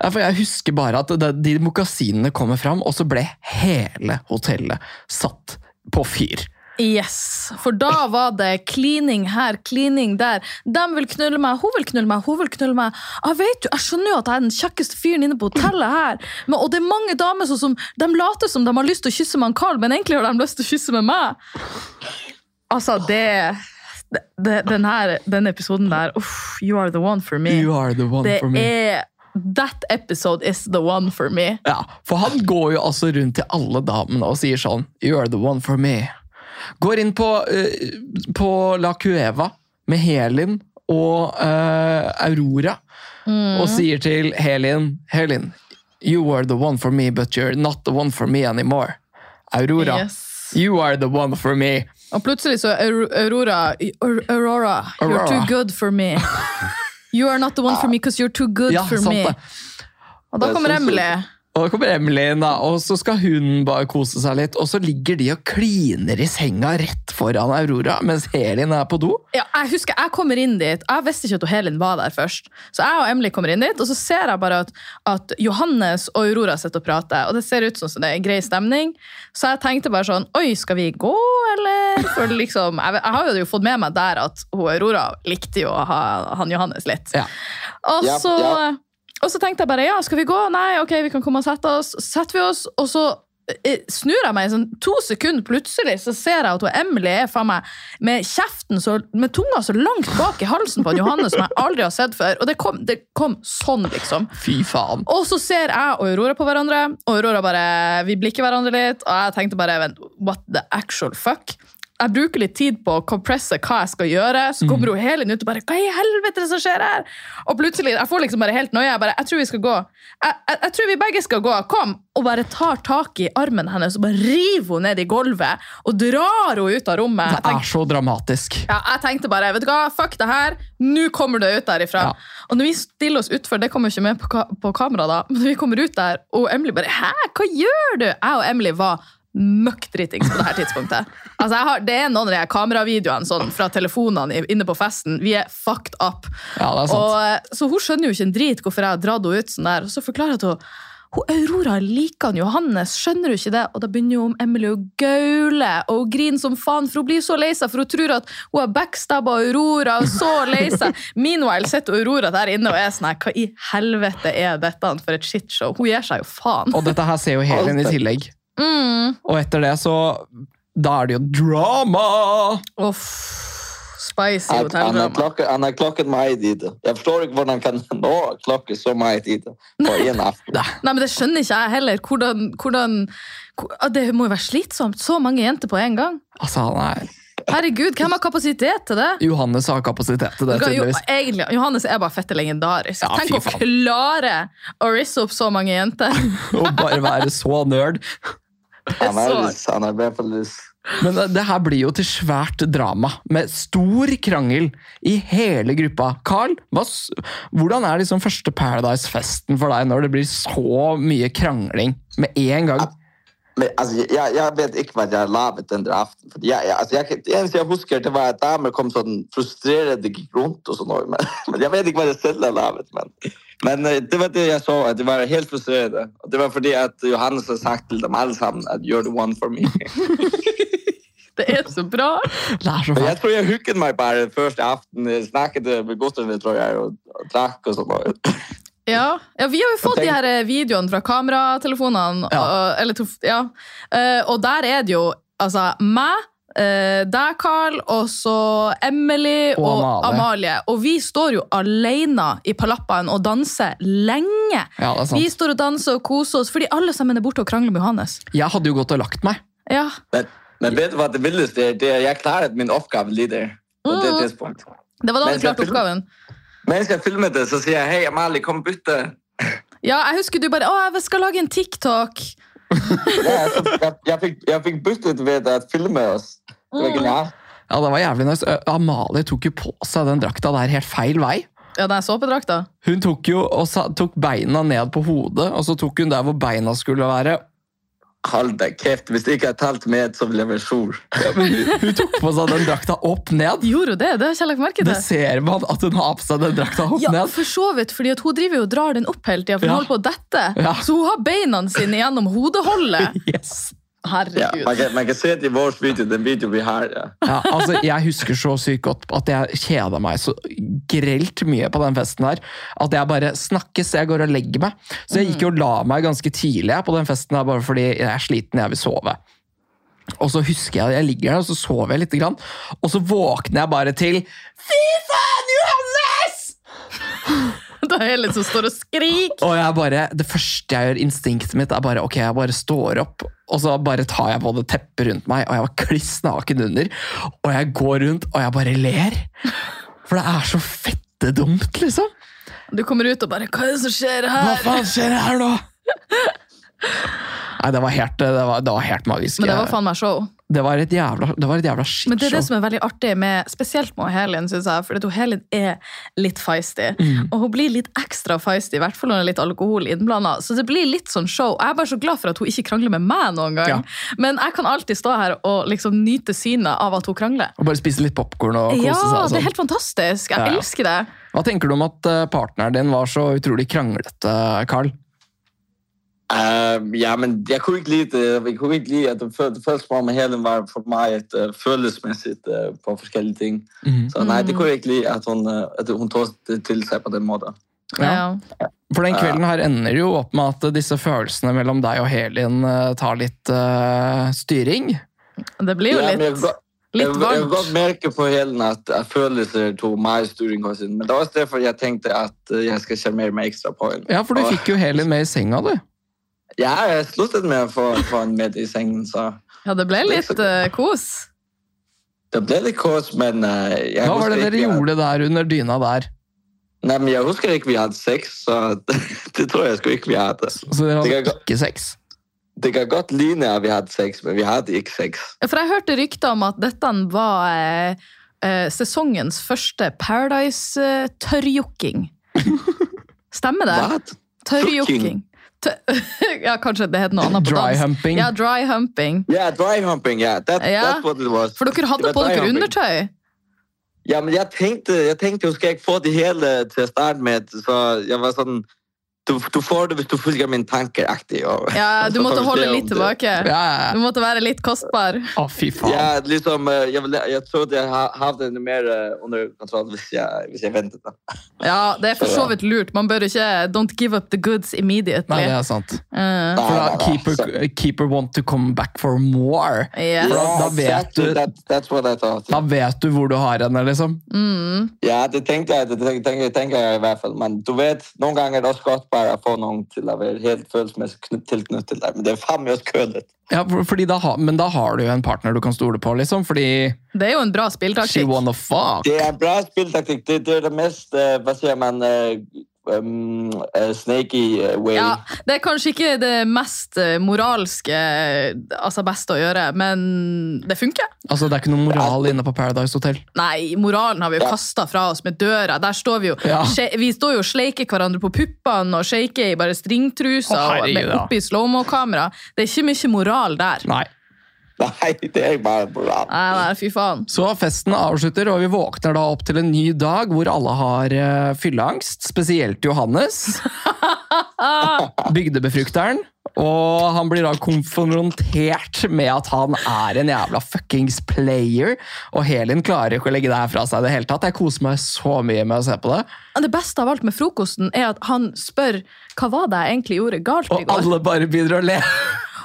Speaker 1: Ja, for jeg husker bare at det, de mokasinene kommer fram, og så ble hele hotellet satt på fyr.
Speaker 2: Yes, for da var det klining her, klining der. De vil knulle meg, hun vil knulle meg, hun vil knulle meg. Jeg vet jo, jeg skjønner jo at jeg er den kjekkeste fyren inne på hotellet her. Men, og det er mange damer som, som de later som de har lyst til å kysse med han Carl, men egentlig har de lyst til å kysse med meg. Altså, det, det, det den her, denne episoden der, uff, you are the one for me.
Speaker 1: You are the one
Speaker 2: Det
Speaker 1: for me.
Speaker 2: er, that episode is the one for me.
Speaker 1: Ja, for han går jo altså rundt til alle damene og sier sånn You are the one for me. Går inn på, eh, på La Cueva med Helin og eh, Aurora.
Speaker 2: Mm.
Speaker 1: og sier til Helin Helin, you are the one for me, but you're not the one for me anymore. Aurora,
Speaker 2: Yes.
Speaker 1: you are the one for me.
Speaker 2: Og plutselig så er Aur- Aurora Aur- Aurora, you're
Speaker 1: Aurora.
Speaker 2: too good for me. You are not the one for me because you're too good
Speaker 1: Ja,
Speaker 2: for
Speaker 1: sant
Speaker 2: me.
Speaker 1: det.
Speaker 2: Og da
Speaker 3: Jeg
Speaker 2: kommer
Speaker 3: synes det-
Speaker 2: Emily.
Speaker 1: Og da kommer Emily inn, da, og så skal hun bare kose seg litt. Og så ligger de og kliner i senga rett foran Aurora, mens Helin er på do.
Speaker 2: Ja, jeg husker, jeg kommer inn dit. Jeg visste ikke at hun Helin var der først. Så jeg og Emily kommer inn dit, og så ser jeg bare at, at Johannes og Aurora sitter og prater. Og det ser ut som det er en grei stemning. Så jeg tenkte bare sånn Oi, skal vi gå, eller? For liksom, jeg, jeg har jo fått med meg der at hun Aurora likte jo å ha han Johannes litt.
Speaker 1: Ja.
Speaker 2: Og
Speaker 3: Ja,
Speaker 2: så,
Speaker 3: ja.
Speaker 2: og så tenkte jeg bare, ja, skal vi gå? Nei, ok, vi kan komme og sette oss. Så setter vi oss, og så eh, snur jeg meg i sånn to sekunder plutselig, så ser jeg at hun Emily er faen meg med kjeften, så, med tunga så langt bak i halsen på han Johannes som jeg aldri har sett før. Og det kom, det kom sånn, liksom.
Speaker 1: Fy faen.
Speaker 2: Og så ser jeg og Aurora på hverandre, og Aurora bare, vi blikker hverandre litt, og jeg tenkte bare, vent, what the actual fuck? Jeg bruker litt tid på å compresse hva jeg skal gjøre, så kommer hun hele ut og bare, hva i helvete er det som skjer her? Og plutselig, jeg får liksom bare helt nøye, jeg bare, jeg tror vi skal gå. Jeg, jeg, jeg tror vi begge skal gå, kom! Og bare tar tak i armen hennes, og bare river hun ned i gulvet, og drar hun ut av rommet.
Speaker 1: Det
Speaker 2: Jeg tenker,
Speaker 1: er så dramatisk.
Speaker 2: ja, jeg tenkte bare, vet du hva, fuck det her, nå kommer det ut derifra.
Speaker 1: Ja.
Speaker 2: Og når vi stiller oss utfor, det kommer jo ikke med på, ka på kamera da, men når vi kommer ut der, og Emily bare, hæ, hva gjør du? Jeg og Emily var møkkdritings på det her tidspunktet. altså, jeg har, det er noen av de her kameravideoene sånn, fra telefonene i- inne på festen. Vi er fucked up.
Speaker 1: Ja, det er sant.
Speaker 2: Og, eh, så hun skjønner jo ikke en drit hvorfor jeg har dratt henne ut sånn der. Og så forklarer jeg til henne hun Aurora liker han Johannes, skjønner du ikke det? Og da begynner jo om Emily å gaule, og hun griner som faen, for hun blir så lei seg, for hun tror at hun har backstabba Aurora, og så lei <laughs> seg. Meanwhile sitter Aurora der inne og er sånn her, hva i helvete er dette for et shitshow? Hun gir seg jo faen.
Speaker 1: Og dette her ser jo Helin i tillegg.
Speaker 2: Mm.
Speaker 1: Og etter det så Da er det jo drama!
Speaker 2: Uff. Spicy
Speaker 3: Han- Han har
Speaker 2: hotelldrama.
Speaker 3: klokket, han har klokket meg i tid. Jeg forstår ikke hvordan han kan <laughs> nå klokke så meg i tid på en aften.
Speaker 2: Nei, men det skjønner ikke jeg heller. Hvordan, hvordan hvor- ah, Det må jo være slitsomt. Så mange jenter på en gang.
Speaker 1: Altså, han er
Speaker 2: Herregud, hvem har kapasitet til det?
Speaker 1: Johannes har kapasitet til det,
Speaker 2: Jo- jo,
Speaker 1: tydeligvis.
Speaker 2: egentlig, Johannes er bare fette legendarisk.
Speaker 1: Ja,
Speaker 2: Tenk
Speaker 1: fy
Speaker 2: å
Speaker 1: faen.
Speaker 2: klare å risse opp så mange jenter.
Speaker 1: Og bare være så nerd.
Speaker 3: Han er,
Speaker 2: Så-
Speaker 3: han er i hvert fall litt-
Speaker 1: Men det, det her blir jo til svært drama, med stor krangel i hele gruppa. Carl, hva, s- hvordan er liksom første Paradise-festen for deg når det blir så mye krangling med en gang?
Speaker 3: Men altså, jeg, jeg vet ikke hva jeg laget den der aften. Fordi jeg, jeg, altså, jeg, kan- det eneste jeg husker, det var at damer kom sånn frustrerende gikk rundt og sånn. også, Men, <laughs> men jeg vet ikke hva jeg selv har laget. Men, men eh, det var det jeg så, at det var helt frustrerende. Og det var fordi at Johannes har sagt til dem alle sammen at you're the one for me.
Speaker 2: Det er så bra!
Speaker 1: Det er så
Speaker 3: Og
Speaker 1: fælt.
Speaker 3: jeg tror jeg hugget meg bare første aften. Jeg Snakket med Gustav, tror jeg, og, og drakk og sånn. også.
Speaker 2: Ja. ja, vi har jo fått
Speaker 3: tenk-
Speaker 2: de her eh, videoene fra kameratelefonene.
Speaker 1: Ja.
Speaker 2: Og, eller, tof- ja. Eh, og der er det jo altså meg, eh, deg, Carl, og så Emily
Speaker 1: Og
Speaker 2: og,
Speaker 1: Amalie.
Speaker 2: Amalie. Og vi står jo alene i palappaen og danser lenge.
Speaker 1: Ja, det er
Speaker 2: Vi
Speaker 1: sant.
Speaker 2: står og danser og koser oss fordi alle sammen er borte og krangler med Johannes.
Speaker 1: Jeg hadde jo gått og lagt meg.
Speaker 2: Ja,
Speaker 3: Men, men vet du hva det villeste er? Det er jeg klarte min oppgave litt der. På det
Speaker 2: Mm.
Speaker 3: tidspunktet.
Speaker 2: Det var da
Speaker 3: Men
Speaker 2: du klarte
Speaker 3: selvfølgelig-
Speaker 2: oppgaven.
Speaker 3: Mens jeg filmet det, så sier jeg 'Hei, Amalie, kom bytte'.
Speaker 2: Ja, jeg husker du bare 'Å, jeg skal lage en TikTok'.
Speaker 3: Ja, så jeg, jeg, fikk, jeg fikk byttet ved å filme oss. Det
Speaker 2: Mm.
Speaker 3: var genialt.
Speaker 1: Ja, det var jævlig nice. Ø, Amalie tok jo på seg den drakta der helt feil vei.
Speaker 2: Ja, den såpedrakta.
Speaker 1: Hun tok jo og sa, tok beina ned på hodet, og så tok hun der hvor beina skulle være.
Speaker 3: Hold deg kjeft. Hvis ikke jeg har talt med, så vil jeg være sur.
Speaker 1: Ja, men hun, hun tok på seg den drakta opp ned.
Speaker 2: <laughs> Gjorde hun det? Det har ikke jeg lagt merke til.
Speaker 1: Det ser man at hun har på seg den drakta opp
Speaker 2: Ja,
Speaker 1: ned.
Speaker 2: for så vidt, fordi at hun driver jo og drar den opp hele tida, for hun
Speaker 1: Ja.
Speaker 2: holder på å dette.
Speaker 1: Ja.
Speaker 2: Så hun har beina sine gjennom
Speaker 1: <laughs>
Speaker 2: hodeholdet.
Speaker 1: Yes.
Speaker 3: Ja,
Speaker 2: Herregud.
Speaker 3: man, kan, man kan se det i vår video, den video vi har. Ja.
Speaker 1: Ja, altså, jeg husker så sykt godt at jeg kjeda meg så grelt mye på den festen her. At jeg bare snakkes, jeg går og legger meg. Så jeg gikk jo og la meg ganske tidlig jeg, på den festen her, bare fordi jeg er sliten, jeg vil sove. Og så husker jeg at jeg ligger der, og så sover jeg litt. Grann, og så våkner jeg bare til Fy faen, Johannes!
Speaker 2: Da er jeg litt som står og skriker.
Speaker 1: Og jeg bare, det første jeg gjør, instinktet mitt er bare ok, jeg bare står opp, og så bare tar jeg både teppet rundt meg, og jeg var kliss naken under, og jeg går rundt, og jeg bare ler. For det er så fette dumt, liksom.
Speaker 2: Du kommer ut og bare 'Hva er det som skjer
Speaker 1: Hva
Speaker 2: her?'
Speaker 1: faen skjer her nå? Nei, det var helt, det var, det var helt magisk.
Speaker 2: Men det var faen meg show.
Speaker 1: Det var et jævla, det var et jævla shitshow.
Speaker 2: Men det er det som er veldig artig med spesielt med Helin, synes jeg. For at hun Helin er litt feisty.
Speaker 1: Mm.
Speaker 2: Og hun blir litt ekstra feisty, i hvert fall når det er litt alkohol innblanda. Så det blir litt sånn show. Jeg er bare så glad for at hun ikke krangler med meg noen gang.
Speaker 1: Ja.
Speaker 2: Men jeg kan alltid stå her og liksom nyte synet av at hun krangler.
Speaker 1: Og bare spise litt popcorn og kose
Speaker 2: Ja,
Speaker 1: seg. og
Speaker 2: det
Speaker 1: sånn.
Speaker 2: er helt fantastisk. Jeg
Speaker 1: Ja, ja.
Speaker 2: elsker det.
Speaker 1: Hva tenker du om at eh, partneren din var så utrolig kranglete, Carl?
Speaker 3: Ehm, ja, men jeg kunne ikke lide det. Jeg kunne ikke lide at det føl- det føltes som om Helen var for meg et uh, følelsesmessig eh, på forskjellige ting. Så nei,
Speaker 2: Mm.
Speaker 3: det kunne jeg ikke lide at hun, eh, at hun tok det til seg på den måten.
Speaker 1: Ja.
Speaker 2: Ja.
Speaker 1: For den kvelden her ender jo opp med at disse følelsene mellom deg og Helin eh, tar litt eh, styring.
Speaker 2: Det blir jo
Speaker 3: Ja, men jeg
Speaker 2: litt,
Speaker 3: kan godt- Jeg,
Speaker 2: litt
Speaker 3: jeg kan godt
Speaker 2: varmt.
Speaker 3: merke på Helen at jeg følelser tok meg styring hos henne. Men det var også derfor jeg tenkte at eh, jeg skal sjarmere meg ekstra på henne.
Speaker 1: Ja, for du
Speaker 3: Og-
Speaker 1: fikk jo Helin med i senga, du.
Speaker 3: Ja, jeg sluttet med å få, få henne med i sengen, så
Speaker 2: Ja, det ble litt eh, kos.
Speaker 3: det ble litt kås, men eh, jeg
Speaker 1: Hva var det
Speaker 3: husker
Speaker 1: dere
Speaker 3: ikke-
Speaker 1: gjorde der under dyna der?
Speaker 3: Nei, men jeg husker ikke vi hadde sex, så <laughs> det tror jeg sgu ikke vi hadde.
Speaker 1: Så Altså, dere
Speaker 3: Det
Speaker 1: hadde
Speaker 3: kan
Speaker 1: ikke sex?
Speaker 3: Det kan godt ligne at vi hadde sex, men vi hadde ikke sex.
Speaker 2: For jeg hørte rykter om at dette var eh, eh, sesongens første
Speaker 3: <laughs>
Speaker 2: Paradise-tørrjokking. Stemmer det?
Speaker 3: Hva?
Speaker 2: Tørrjokking. Tø- <laughs> ja, kanskje det het noe annet på
Speaker 1: Dry
Speaker 2: dansk.
Speaker 1: humping?
Speaker 2: Ja, dry humping.
Speaker 3: Ja, dry humping, ja. That,
Speaker 2: Ja.
Speaker 3: That's what it was.
Speaker 2: For dere hadde
Speaker 3: Det var
Speaker 2: på
Speaker 3: dry
Speaker 2: dere
Speaker 3: humping.
Speaker 2: undertøy.
Speaker 3: Ja, men jeg tenkte, jeg tenkte, jo, skal jeg ikke få det hele til å starte med? Så jeg var sånn, du, du får det hvis du følger min tanker, aktig. Og,
Speaker 2: Ja, du
Speaker 3: Så
Speaker 2: måtte
Speaker 3: får vi
Speaker 2: holde
Speaker 3: se om
Speaker 2: litt
Speaker 3: det-
Speaker 1: Ja,
Speaker 2: tilbake.
Speaker 1: ja,
Speaker 2: Du
Speaker 1: ja.
Speaker 2: måtte være litt kostbar.
Speaker 1: Å, fy faen.
Speaker 3: Ja, liksom, eh, jeg, ville- jeg trodde jeg ha- hadde det mer eh, under kontroll hvis jeg, hvis jeg ventet. Da.
Speaker 2: Ja, det er for så
Speaker 3: Ja.
Speaker 2: vidt lurt. Man bør ikke Don't give up the goods
Speaker 1: Nei, det
Speaker 2: immediately.
Speaker 1: er sant.
Speaker 2: Eh.
Speaker 1: For
Speaker 3: Nei,
Speaker 1: da
Speaker 3: nei, nei,
Speaker 1: keeper, eh, keeper want to come back for more.
Speaker 2: Yes.
Speaker 1: Ja. da vet
Speaker 3: exactly,
Speaker 1: du-
Speaker 3: That, that's what I thought.
Speaker 1: Da vet du hvor du har henne, liksom.
Speaker 2: Mm.
Speaker 3: Ja, det tenkte jeg, det tenker, tenker, tenker jeg i hvert fall. Men du vet, noen ganger er det også godt bare å få noen til å være helt følelsesmessig knytt- tilknyttet til deg. Men det er faen meg også kødet.
Speaker 1: Ja, for, fordi da, har- men da har du jo en partner du kan stole på, liksom. Fordi
Speaker 2: Det er jo en bra
Speaker 1: she
Speaker 2: spilltaktikk.
Speaker 1: wanna fuck.
Speaker 3: Det er en bra spilltaktikk. Det, det er det mest eh, Hva sier man eh, um, eh, snaky eh, way.
Speaker 2: Ja, det er kanskje ikke det mest eh, moralske altså beste å gjøre, men det funker.
Speaker 1: Altså, Det er ikke noe moral inne på Paradise Hotel.
Speaker 2: Nei, moralen har vi jo
Speaker 3: Ja.
Speaker 2: kasta fra oss med døra. Der står Vi jo
Speaker 1: Ja.
Speaker 2: sje- Vi står jo og sleiker hverandre på puppene og shaker i bare stringtruser
Speaker 1: Å,
Speaker 2: og
Speaker 1: herregud,
Speaker 2: med-
Speaker 1: ja.
Speaker 2: oppi slow-mo-kamera. Det er ikke mye moral der. Nei,
Speaker 1: Nei.
Speaker 3: <laughs> Nei, det er bare bra.
Speaker 2: nei, fy faen.
Speaker 1: Så festen avslutter, og vi våkner da opp til en ny dag hvor alle har eh, fylleangst. Spesielt <laughs> Johannes. Bygdebefrukteren. Og han blir da konfrontert med at han er en jævla fuckings player. Og Helin klarer ikke å legge det her fra seg i det hele tatt. Jeg koser meg så mye med å se på det.
Speaker 2: Men Det beste av alt med frokosten er at han spør hva var det jeg egentlig gjorde galt i
Speaker 1: Og
Speaker 2: går.
Speaker 1: alle bare begynner å le.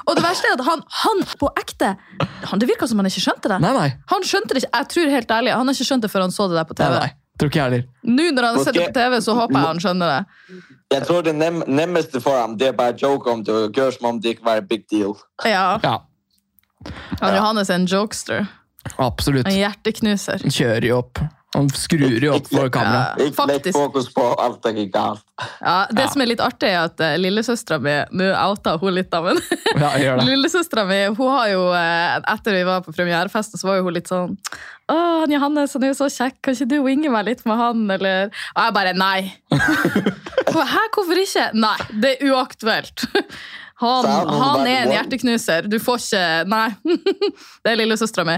Speaker 2: Og det verste er at han, han på ekte han, Det virka som han ikke skjønte det.
Speaker 1: Nei, nei.
Speaker 2: Han skjønte det ikke, jeg tror helt ærlig, han har ikke skjønt det før han så det der på
Speaker 1: nei,
Speaker 2: TV.
Speaker 1: nei. Tror ikke jeg heller.
Speaker 2: Nå når han har sett det på
Speaker 3: Måske-
Speaker 2: TV, så håper jeg han skjønner det.
Speaker 3: Jeg tror det nem nemmeste for ham det er bare å joke om det og gjøre som om det ikke var en big deal.
Speaker 2: Ja,
Speaker 1: Ja,
Speaker 2: han Johannes er en jokester.
Speaker 1: absolutt.
Speaker 2: En hjerteknuser.
Speaker 1: Han kjører jo opp. Han skrur jo opp for kameraet.
Speaker 2: Ja,
Speaker 3: Ikke legg
Speaker 2: faktisk.
Speaker 3: fokus på alt det gikk galt.
Speaker 2: Ja, det
Speaker 1: Ja.
Speaker 2: som er litt artig, er at uh, lillesøstera mi Nå outa hun litt, da, men
Speaker 1: Ja, jeg gjør det.
Speaker 2: <laughs> lillesøstera mi hun har jo eh, Etter vi var på premierefesten, så var jo hun litt sånn Å, han Johannes, han er jo så kjekk, kan ikke du winge meg litt med han, eller Og jeg bare nei. Hun bare, Hæ, hvorfor ikke? Nei, det er uaktuelt. <laughs> Han,
Speaker 3: Sa hun noe
Speaker 2: han
Speaker 3: bare,
Speaker 2: er en
Speaker 3: wow.
Speaker 2: hjerteknuser. Du får ikke Nei. <laughs> Det er lillesøstera mi.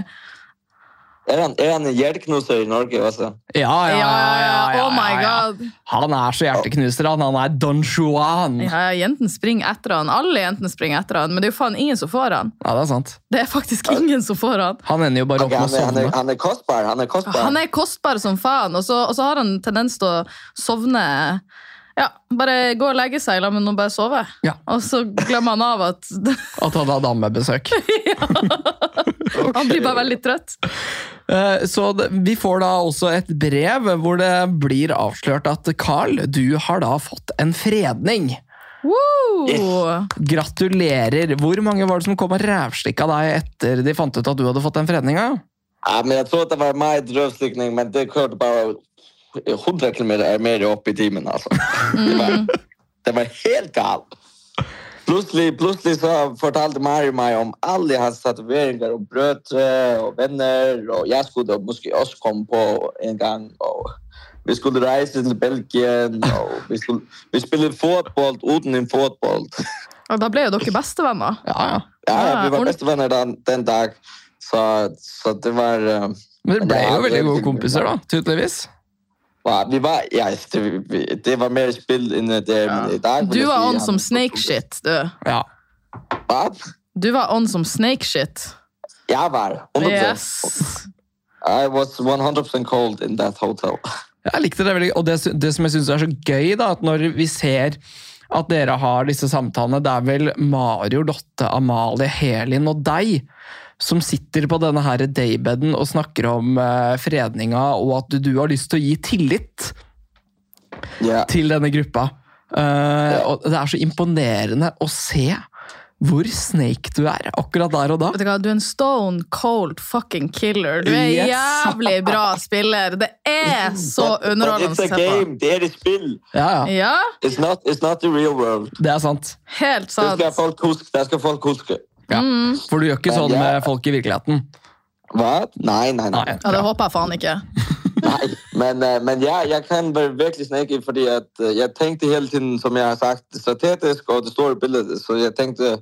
Speaker 3: Er han, er han en hjerteknuser i Norge også?
Speaker 1: Ja, ja,
Speaker 2: Ja,
Speaker 1: ja, ja, ja,
Speaker 2: Oh my
Speaker 1: ja, ja.
Speaker 2: god.
Speaker 1: Han er så hjerteknuser, han. Han er Don Juan. Ja,
Speaker 2: Ja, ja, jentene springer etter han. Alle jentene springer etter han, men det er jo faen ingen som får han.
Speaker 1: det er sant.
Speaker 2: Det er faktisk ingen som får han.
Speaker 1: Han ender jo bare opp
Speaker 3: Ok,
Speaker 1: med å
Speaker 3: han, er, han, er,
Speaker 1: sovne.
Speaker 3: han er kostbar. Han er kostbar.
Speaker 2: Han er kostbar som faen, og så, og så har han tendens til å sovne Ja, bare gå og legge seg, la meg nå bare sove.
Speaker 1: Ja.
Speaker 2: Og så glemmer han av at <laughs>
Speaker 1: At han har damebesøk.
Speaker 2: han blir bare veldig trøtt.
Speaker 1: Eh, Så det- vi får da også et brev hvor det blir avslørt at Carl, du har da fått en fredning.
Speaker 2: Woo!
Speaker 3: Yes.
Speaker 1: Gratulerer. Hvor mange var det som kom og rævslikka deg etter de fant ut at du hadde fått den fredninga?
Speaker 3: Ja, men jeg trodde det var meget røvslikning, men det kørte bare 100 km mer opp i timen, altså. Det var, det var helt galt. Plutselig, plutselig så fortalte Mario meg om alle hans tatoveringer og brødre og venner, og jeg skulle måske også komme på en gang. og vi skulle reise til Belgien, og vi, skulle, vi spille fotball uten en fotball.
Speaker 2: Og da ble jo dere bestevenner.
Speaker 1: Ja, ja.
Speaker 3: Ja, vi
Speaker 2: Ah,
Speaker 3: var
Speaker 2: ord-
Speaker 3: bestevenner den, den dag, så, så det var... eh,
Speaker 1: Men dere ble
Speaker 3: Ja,
Speaker 1: jo veldig
Speaker 3: det-
Speaker 1: gode kompiser, da. Tydeligvis.
Speaker 3: Ja, vi var, ja, det, vi- det var mer spill enn det men i dag. vil
Speaker 2: Du
Speaker 3: jeg si
Speaker 2: var on
Speaker 3: han-
Speaker 2: som snake shit, du.
Speaker 1: Ja.
Speaker 3: Hva?
Speaker 2: Du var on som snake shit.
Speaker 3: Jeg var 100%.
Speaker 2: Yes.
Speaker 3: I was 100% cold in that hotel. <laughs>
Speaker 1: Jeg likte det veldig, og det, sy- det som jeg synes er så gøy da, at når vi ser at dere har disse samtalene, det er vel Mario, Lotte, Amalie, Helin og deg som sitter på denne her daybeden og snakker om eh, fredninga, og at du har lyst til å gi tillit
Speaker 3: Ja.
Speaker 1: til denne gruppa. Eh, og det er så imponerende å se hvor snake du er akkurat der og da.
Speaker 2: Vet du hva, du er en stone cold fucking killer. Du er en
Speaker 1: Yes.
Speaker 2: jævlig bra spiller. Det er så
Speaker 3: But- but
Speaker 2: underholdende
Speaker 3: It's a
Speaker 2: å se på.
Speaker 3: game, det er et spill.
Speaker 1: Ja, ja,
Speaker 2: Ja,
Speaker 3: It's not, it's not the real world.
Speaker 1: det er sant.
Speaker 2: helt
Speaker 3: Det
Speaker 2: sant.
Speaker 3: skal folk huske. Det skal folk huske.
Speaker 1: Ja.
Speaker 2: Mm.
Speaker 1: For du gjør ikke sånn
Speaker 3: Ja.
Speaker 1: med folk i virkeligheten.
Speaker 3: Hva? Nei, nei, nei.
Speaker 1: Nei.
Speaker 2: Ja, det håper jeg faen ikke.
Speaker 3: nei. Men, eh, men ja, jeg kan være virkelig snake fordi at eh, jeg tenkte hele tiden, som jeg har sagt, strategisk og det store bildet. Så jeg tenkte...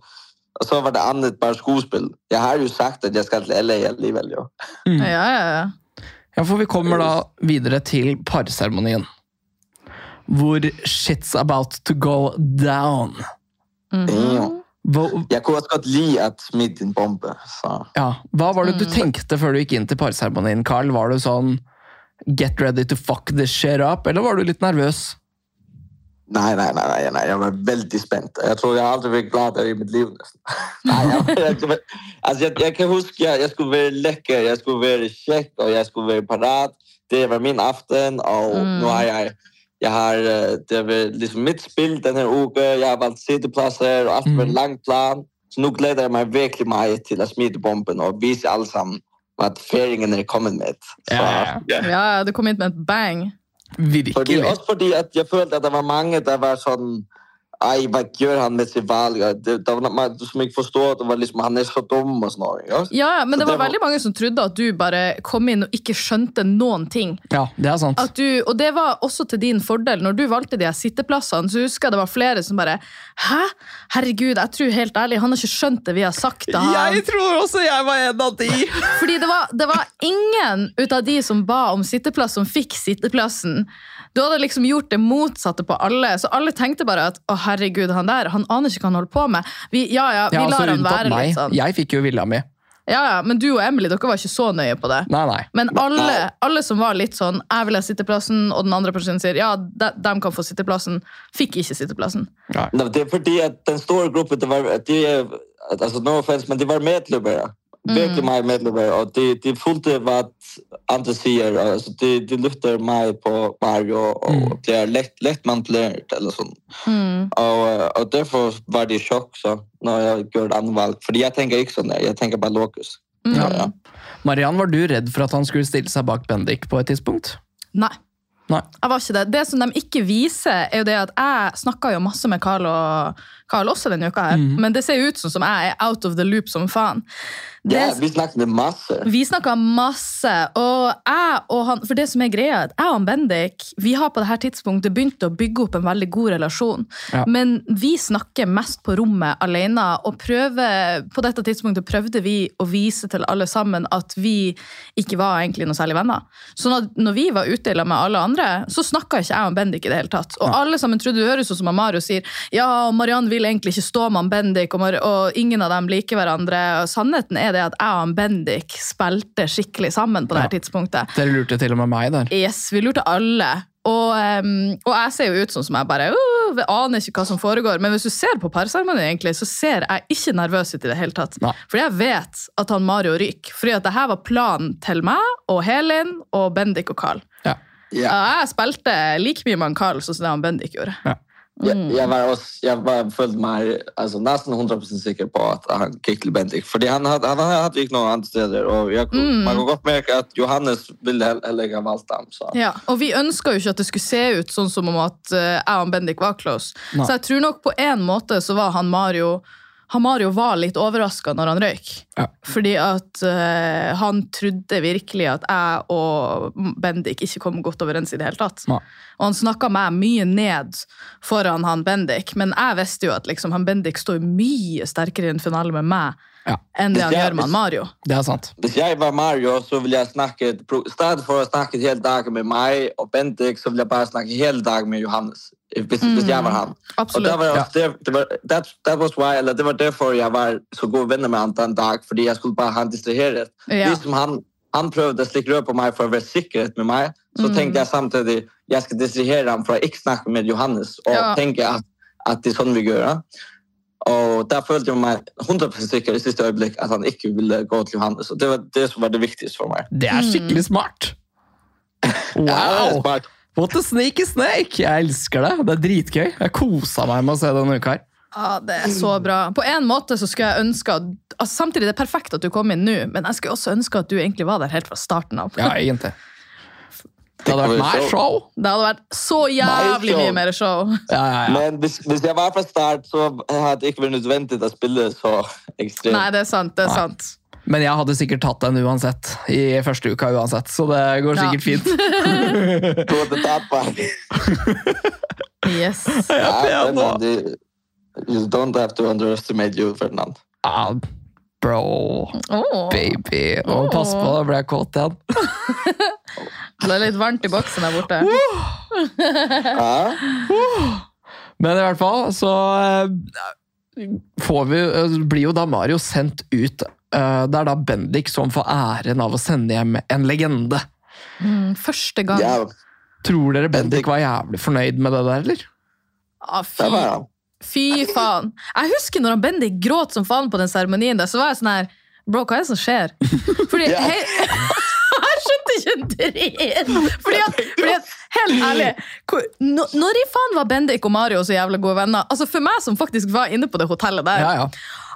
Speaker 3: Og så var det andet bare skuespill. Jeg har jo sagt at jeg skal til LA alligevel, jo.
Speaker 1: Mm.
Speaker 3: Mm.
Speaker 2: Ja, ja, ja.
Speaker 1: Ja, for vi kommer da videre til parseremonien. Hvor shit's about to go down.
Speaker 3: Mm.
Speaker 2: Mhm.
Speaker 1: Hva,
Speaker 3: Jeg kunne også godt lide at smidt en bombe. Så.
Speaker 1: ja, hva var det du
Speaker 2: Mm.
Speaker 1: tenkte før du gikk inn til parseremonien, Carl? Var du sånn Get ready to fuck this shit up, eller var du litt nervøs?
Speaker 3: Nei, nei, nei, nei, nei, jeg var veldig spent. Jeg tror jeg aldri vært glad i mitt liv. nesten. <laughs> Nei, jeg, jeg, jeg, altså, jeg, jeg kan huske jeg, jeg skulle være lekker, jeg skulle være kjekk, og jeg skulle være parat. Det var min aften, og
Speaker 2: Mm.
Speaker 3: nå har jeg, jeg har, eh, Det var liksom mitt spill denne uka. Jeg har valgt sitteplasser, og alt var en
Speaker 1: Mm.
Speaker 3: lang plan. Så nå gleder jeg meg virkelig meg til å smide bomben og vise alle sammen at feringen er kommet med. Så,
Speaker 1: Ja, ja,
Speaker 2: Ja, ja, du kom hit med et bang.
Speaker 3: Fordi,
Speaker 1: Virkelig.
Speaker 3: også fordi at jeg følte, at der var mange, der var sånn, sådan, ej, hvad gjorde han med sit valg? Og det, der var mange, som ikke forstod, at det var liksom, han er så dum og sådan noget. Ikke? også?
Speaker 2: Ja, ja, men det
Speaker 3: Så
Speaker 2: var
Speaker 3: det var-
Speaker 2: veldig mange som trodde at du bare kom inn og ikke skjønte noen ting.
Speaker 1: Ja, det er sant.
Speaker 2: At du, og det var også til din fordel. Når du valgte de her sitteplassene, så husker jeg det var flere som bare Hæ? Herregud, jeg tror helt ærlig, han har ikke skjønt det vi har sagt til han.
Speaker 1: tror også jeg var en
Speaker 2: <laughs>
Speaker 1: av de!
Speaker 2: Fordi det var, det var ingen ut av de som ba om sitteplass, som fikk sitteplassen. Du hadde liksom gjort det motsatte på alle, så alle tenkte bare at å herregud, han der, han aner ikke hva han holder på med. Vi, ja, ja, vi
Speaker 1: Ja, altså,
Speaker 2: lar han
Speaker 1: unntatt
Speaker 2: være
Speaker 1: meg.
Speaker 2: litt sånn.
Speaker 1: Jeg fikk jo villa mi.
Speaker 2: Ja, ja, men du og Emily, dere var ikke så nøye på det.
Speaker 1: Nei, nei.
Speaker 2: Men alle, alle som var litt sånn 'jeg vil ha sitteplassen', og den andre personen sier 'ja, de, dem kan få sitteplassen', fikk ikke sitteplassen.
Speaker 1: nei.
Speaker 3: Nå, det er fordi, at den store gruppe, det var, de, er- altså, no offense, men de var medløbere. Virkelig mange medløbere, og de, de fulgte hva andre sier. og, Altså, de, de lyfter meg på Mario, og
Speaker 1: Mm.
Speaker 3: blir lett, lett manipulert, eller sånn.
Speaker 2: Mm.
Speaker 3: Og, øh, og derfor var det i sjokk så, når jeg gjorde et annet valg. Fordi jeg tenker ikke sånn, der, jeg tenker bare lokus.
Speaker 2: Mm.
Speaker 3: Ja, ja.
Speaker 1: Mariann, var du redd for at han skulle stille seg bak Bendik på et tidspunkt?
Speaker 2: Nei.
Speaker 1: Nei.
Speaker 2: Jeg var ikke det. Det som de ikke viser, er jo det at jeg snakka jo masse med Carl, og, Carl også denne uka her,
Speaker 1: Mhm.
Speaker 2: men det ser jo ut som, som jeg er out of the loop som faen. Det,
Speaker 3: Ja, vi snakket masse.
Speaker 2: Vi snakka masse, og jeg og han For det som er greia, er at jeg og han Bendik vi har på det her tidspunktet begynt å bygge opp en veldig god relasjon.
Speaker 1: Ja.
Speaker 2: Men vi snakker mest på rommet alene, og prøver, på dette tidspunktet prøvde vi å vise til alle sammen at vi ikke var egentlig noe særlig venner. Så når, når vi var ute i lag med alle andre, så snakka ikke jeg og Bendik i det hele tatt. Og alle sammen trodde det høres ut som at Mario sier ja, og Mariann vil egentlig ikke stå med han Bendik, og, Mar og ingen av dem liker hverandre. Og sannheten er det at jeg og han Bendik spilte skikkelig sammen på det her tidspunktet.
Speaker 1: Dere lurte til og med meg der.
Speaker 2: Yes, vi lurte alle. Og, ehm, og jeg ser jo ut sånn som jeg bare uh, jeg aner ikke hva som foregår. Men hvis du ser på parseremonien, egentlig, så ser jeg ikke nervøs ut i det hele tatt.
Speaker 1: Nei.
Speaker 2: Fordi jeg vet at han Mario ryker. Fordi at det her var planen til meg og Helin og Bendik og Carl.
Speaker 1: Ja.
Speaker 3: Ja.
Speaker 2: Og Jeg spilte like mye med han Carl som det han Bendik gjorde.
Speaker 3: Jeg,
Speaker 2: Mm.
Speaker 3: jeg var også, jeg var, følte meg altså, nesten 100% sikker på at han gikk til Bendik. Fordi han hadde, han hadde ikke noen andre steder. Og jeg, kunne-
Speaker 2: Mm.
Speaker 3: man kan godt merke at Johannes ville hell- heller ikke ha valgt ham. Så.
Speaker 2: Ja, og vi ønska jo ikke at det skulle se ut sånn som om at eh, jeg og Bendik var close.
Speaker 1: Nei.
Speaker 2: Så jeg tror nok på en måte så var han Mario Han Mario var litt overraska når han røyk.
Speaker 1: Ja.
Speaker 2: Fordi at eh, han trodde virkelig at jeg og Bendik ikke kom godt overens i det hele tatt.
Speaker 1: Nei.
Speaker 2: Og han snakka meg mye ned foran han Bendik, men jeg visste jo at liksom, han Bendik står mye sterkere i en finale med meg
Speaker 1: Ja.
Speaker 2: enn det han
Speaker 3: Ja,
Speaker 2: gjør med
Speaker 3: hvis-
Speaker 2: han Mario.
Speaker 1: Det er sant.
Speaker 3: Hvis jeg var Mario, så ville jeg snakke, i stedet for å snakke hele dagen med meg og Bendik, så ville jeg bare snakke hele dagen med Johannes. Hvis, hvis jeg var han. Og der
Speaker 2: Mm. Absolutt.
Speaker 3: var jeg også, det, det, var, that, that was why, eller det var derfor jeg var så god venner med han den dag, fordi jeg skulle bare ha han distraheret.
Speaker 2: Ja.
Speaker 3: Liksom han, han prøvde å slikke rød på meg for å være sikkerhet med meg, så
Speaker 1: Mm.
Speaker 3: tenkte jeg samtidig jeg skal distrahere ham for å ikke snakke med Johannes, og
Speaker 2: Ja.
Speaker 3: tenke at, at det er sånn vi gjør. ja. Og der følte jeg meg 100% sikker i siste øyeblikk at han ikke ville gå til Johannes, og det var det som var det viktigste for meg.
Speaker 1: Det er skikkelig smart! Wow!
Speaker 3: Wow.
Speaker 1: What a snake is snake! Jeg elsker det. Det er dritgøy. Jeg kosa meg med å se denne uka her.
Speaker 2: Ja, det er så bra. På en måte så skulle jeg ønske at, altså Samtidig det er perfekt at du kom inn nå, men jeg skulle også ønske at du egentlig var der helt fra starten av.
Speaker 1: Ja, egentlig. Det hadde vært mer show.
Speaker 2: <laughs> Det hadde vært så jævlig
Speaker 3: Nei, så-
Speaker 2: mye mer show.
Speaker 1: Ja, ja, ja.
Speaker 3: Men hvis, hvis jeg var fra start, så hadde det ikke vært nødvendig å spille så ekstremt.
Speaker 2: Nei, det er sant. det er sant.
Speaker 1: Men jeg hadde sikkert tatt den uansett. I første uka uansett, så det går
Speaker 2: Ja.
Speaker 1: sikkert fint.
Speaker 3: På det
Speaker 1: <laughs>
Speaker 3: tapet. <laughs>
Speaker 2: Yes.
Speaker 1: Ja, det
Speaker 3: Ja,
Speaker 1: er nå.
Speaker 3: Fernandi, You don't have to underestimate you,
Speaker 1: <laughs>
Speaker 3: Fernand.
Speaker 1: Ah, bro,
Speaker 2: Åh,
Speaker 1: baby. Å, pass på, da ble jeg kåt igjen.
Speaker 2: det er litt varmt i boksen der borte.
Speaker 3: Ja?
Speaker 1: Men i hvert fall så eh, får vi, eh, blir jo da Mario sendt ut. Eh, Det er da Bendik som får æren av å sende hjem en legende.
Speaker 2: Mm, Første gang.
Speaker 3: ja,
Speaker 1: Tror dere Bendik var jævlig fornøyd med det der, eller?
Speaker 2: Ah, fy,
Speaker 3: det var han.
Speaker 2: fy faen. Jeg husker når han Bendik gråt som faen på den seremonien, der, så var jeg sånn her Bro, hva er det som skjer? Fordi
Speaker 3: Ja.
Speaker 2: he <laughs> Jeg skjønte ikke en dritt! Fordi at, fordi at helt ærlig, hvor, nå- når i faen var Bendik og Mario så jævla gode venner? Altså For meg som faktisk var inne på det hotellet der
Speaker 1: Ja, ja.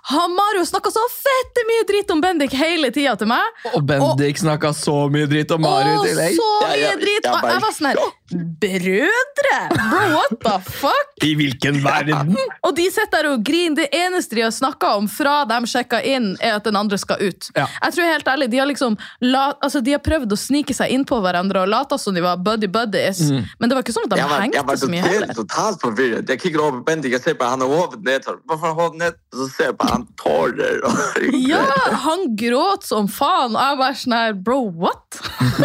Speaker 2: Han Mario snakka så fette mye dritt om Bendik hele tida til meg.
Speaker 1: Og Bendik snakka så mye dritt om Mario
Speaker 2: Åh,
Speaker 1: i tillegg.
Speaker 2: så
Speaker 3: Ja,
Speaker 2: mye
Speaker 3: ja,
Speaker 2: drit!
Speaker 3: ja,
Speaker 2: Og jeg
Speaker 3: bare-
Speaker 2: var sånn her Brødre! Bro, what the fuck?
Speaker 1: I hvilken verden?
Speaker 2: Og de sitter der og griner. Det eneste de har snakka om fra de sjekka inn, er at den andre skal ut.
Speaker 1: Ja.
Speaker 2: Jeg tror helt ærlig, De har liksom la, altså, de har prøvd å snike seg innpå hverandre og late som de var buddy-buddies.
Speaker 1: Mhm.
Speaker 2: Men det var ikke sånn at de
Speaker 3: Jeg var, jeg
Speaker 2: hengte
Speaker 3: var
Speaker 2: så mye
Speaker 3: totalt,
Speaker 2: heller.
Speaker 3: totalt forvirret. Jeg kikker over på Bendik og ser på han og hodet ned. så, Hvorfor har hodet ned? Og så ser jeg på han tårer. <laughs> og
Speaker 2: Ja, han gråt som faen, og jeg bare sånn her Bro, what?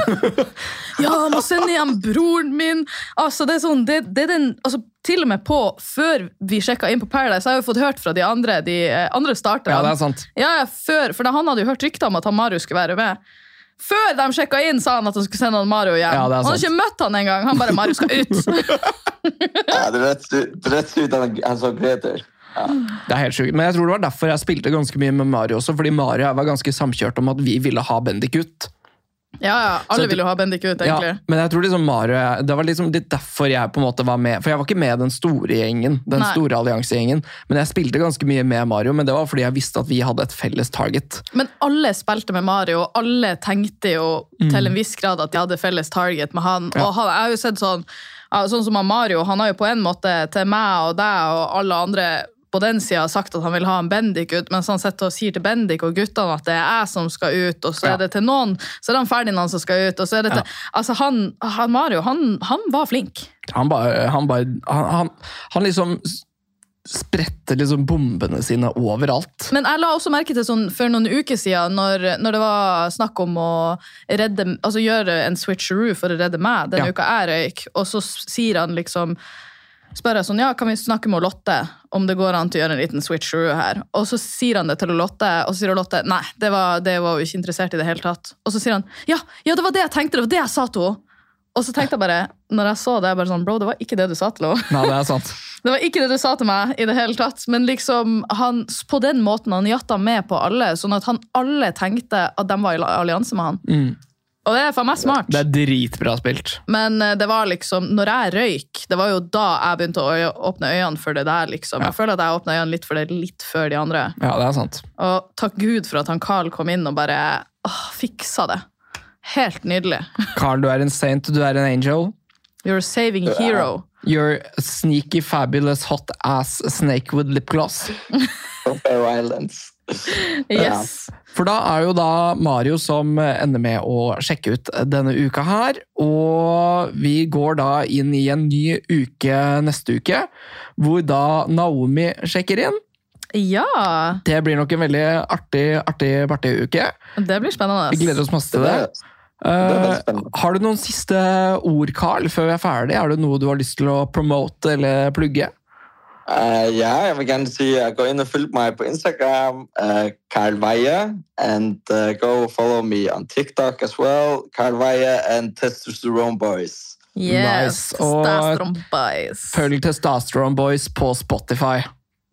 Speaker 2: <laughs> ja, jeg må sende igjen broren min. Altså, det er sånn, det, det er den, altså, til og med på før vi sjekka inn på Paradise, jeg har jo fått hørt fra de andre, de eh, andre starterne.
Speaker 1: Ja, det er sant.
Speaker 2: Ja, ja, før, for da Han hadde jo hørt rykter om at han Mario skulle være med. Før de sjekka inn, sa han at han skulle sende han Mario
Speaker 1: Ja,
Speaker 2: hjem.
Speaker 1: det er
Speaker 2: han hadde
Speaker 1: sant.
Speaker 2: ikke møtt han engang. Han bare 'Mario skal
Speaker 1: <laughs>
Speaker 2: ut'.
Speaker 3: Ja, det er rett, det er rett ut han, han så Greter.
Speaker 1: Det er helt sjukt. Men jeg tror det var derfor jeg spilte ganske mye med Mario også, fordi Mario og jeg var ganske samkjørt om at vi ville ha Bendik ut.
Speaker 2: ja, ja,
Speaker 1: Så
Speaker 2: Alle
Speaker 1: det-
Speaker 2: vil jo ha Bendik ut,
Speaker 1: Ja,
Speaker 2: egentlig.
Speaker 1: men jeg tror liksom Mario og jeg, Det var liksom litt derfor jeg på en måte var med. For jeg var ikke med den store gjengen, den
Speaker 2: Nei.
Speaker 1: store alliansegjengen. Men jeg spilte ganske mye med Mario, men det var fordi jeg visste at vi hadde et felles target.
Speaker 2: Men alle spilte med Mario, og alle tenkte jo til en viss grad at de hadde felles target med han. Og han, jeg har jo sett sånn, ja, sånn som han Mario, han har jo på en måte til meg og deg og alle andre på den sida sagt at han vil ha en Bendik ut, mens han sitter og sier til Bendik og guttene at det er jeg som skal ut, og så
Speaker 1: Ja.
Speaker 2: er det til noen, så er det han Ferdinand som skal ut, og så er det til Altså, han, han Mario, han, han var flink.
Speaker 1: Han bare Han, bare, han, han, han liksom s- spredte liksom bombene sine overalt.
Speaker 2: <laughs> Men jeg la også merke til sånn, for noen uker siden, når, når det var snakk om å redde, altså gjøre en switcheroo for å redde meg den
Speaker 1: Ja.
Speaker 2: uka jeg røyk, og så s- sier han liksom spør jeg sånn, ja, kan vi snakke med Lotte om det går an til å gjøre en liten switcheroo her? Og så sier han det til Lotte, og så sier Lotte, nei, det var, det var jo ikke interessert i det hele tatt. Og så sier han, ja, ja, det var det jeg tenkte, det var det jeg sa til henne. Og så tenkte jeg bare, når jeg så det, jeg bare sånn, bro, det var ikke det du sa til henne.
Speaker 1: Nei, det er sant.
Speaker 2: Det var ikke det du sa til meg, i det hele tatt, men liksom, han, på den måten han jatta med på alle, sånn at han alle tenkte at de var i la- allianse med han.
Speaker 1: Mm.
Speaker 2: Og det er faen meg smart.
Speaker 1: Det er dritbra spilt.
Speaker 2: Men eh, det var liksom, når jeg røyk, det var jo da jeg begynte å øye- åpne øynene for det der, liksom. Jeg føler at jeg åpna øynene litt for det litt før de andre.
Speaker 1: Ja, det er sant.
Speaker 2: Og takk Gud for at han Carl kom inn og bare åh, fiksa det. Helt nydelig.
Speaker 1: Carl, du er en saint, du er en angel.
Speaker 2: You're a saving hero.
Speaker 1: You're a sneaky, fabulous, hot ass snake with lip gloss.
Speaker 3: From Faroe Islands.
Speaker 2: Yes.
Speaker 1: For da er jo da Mario som ender med å sjekke ut denne uka her. Og vi går da inn i en ny uke neste uke, hvor da Naomi sjekker inn.
Speaker 2: Ja.
Speaker 1: Det blir nok en veldig artig, artig, artig uke.
Speaker 2: Det blir spennende.
Speaker 1: Vi gleder oss masse til det.
Speaker 3: er veldig
Speaker 1: Eh,
Speaker 3: spennende.
Speaker 1: har du noen siste ord, Carl, før vi er ferdig? Er det noe du har lyst til å promote eller plugge?
Speaker 3: Eh, ja, jeg vil gjerne si eh, gå inn og følg meg på Instagram, eh, Karl Veie, and eh, go follow me on TikTok as well, Karl Veie and Testosterone Boys.
Speaker 2: Yes,
Speaker 1: Nice. Og-
Speaker 2: Testosteron-boys.
Speaker 1: Følg Testosterone Boys på Spotify.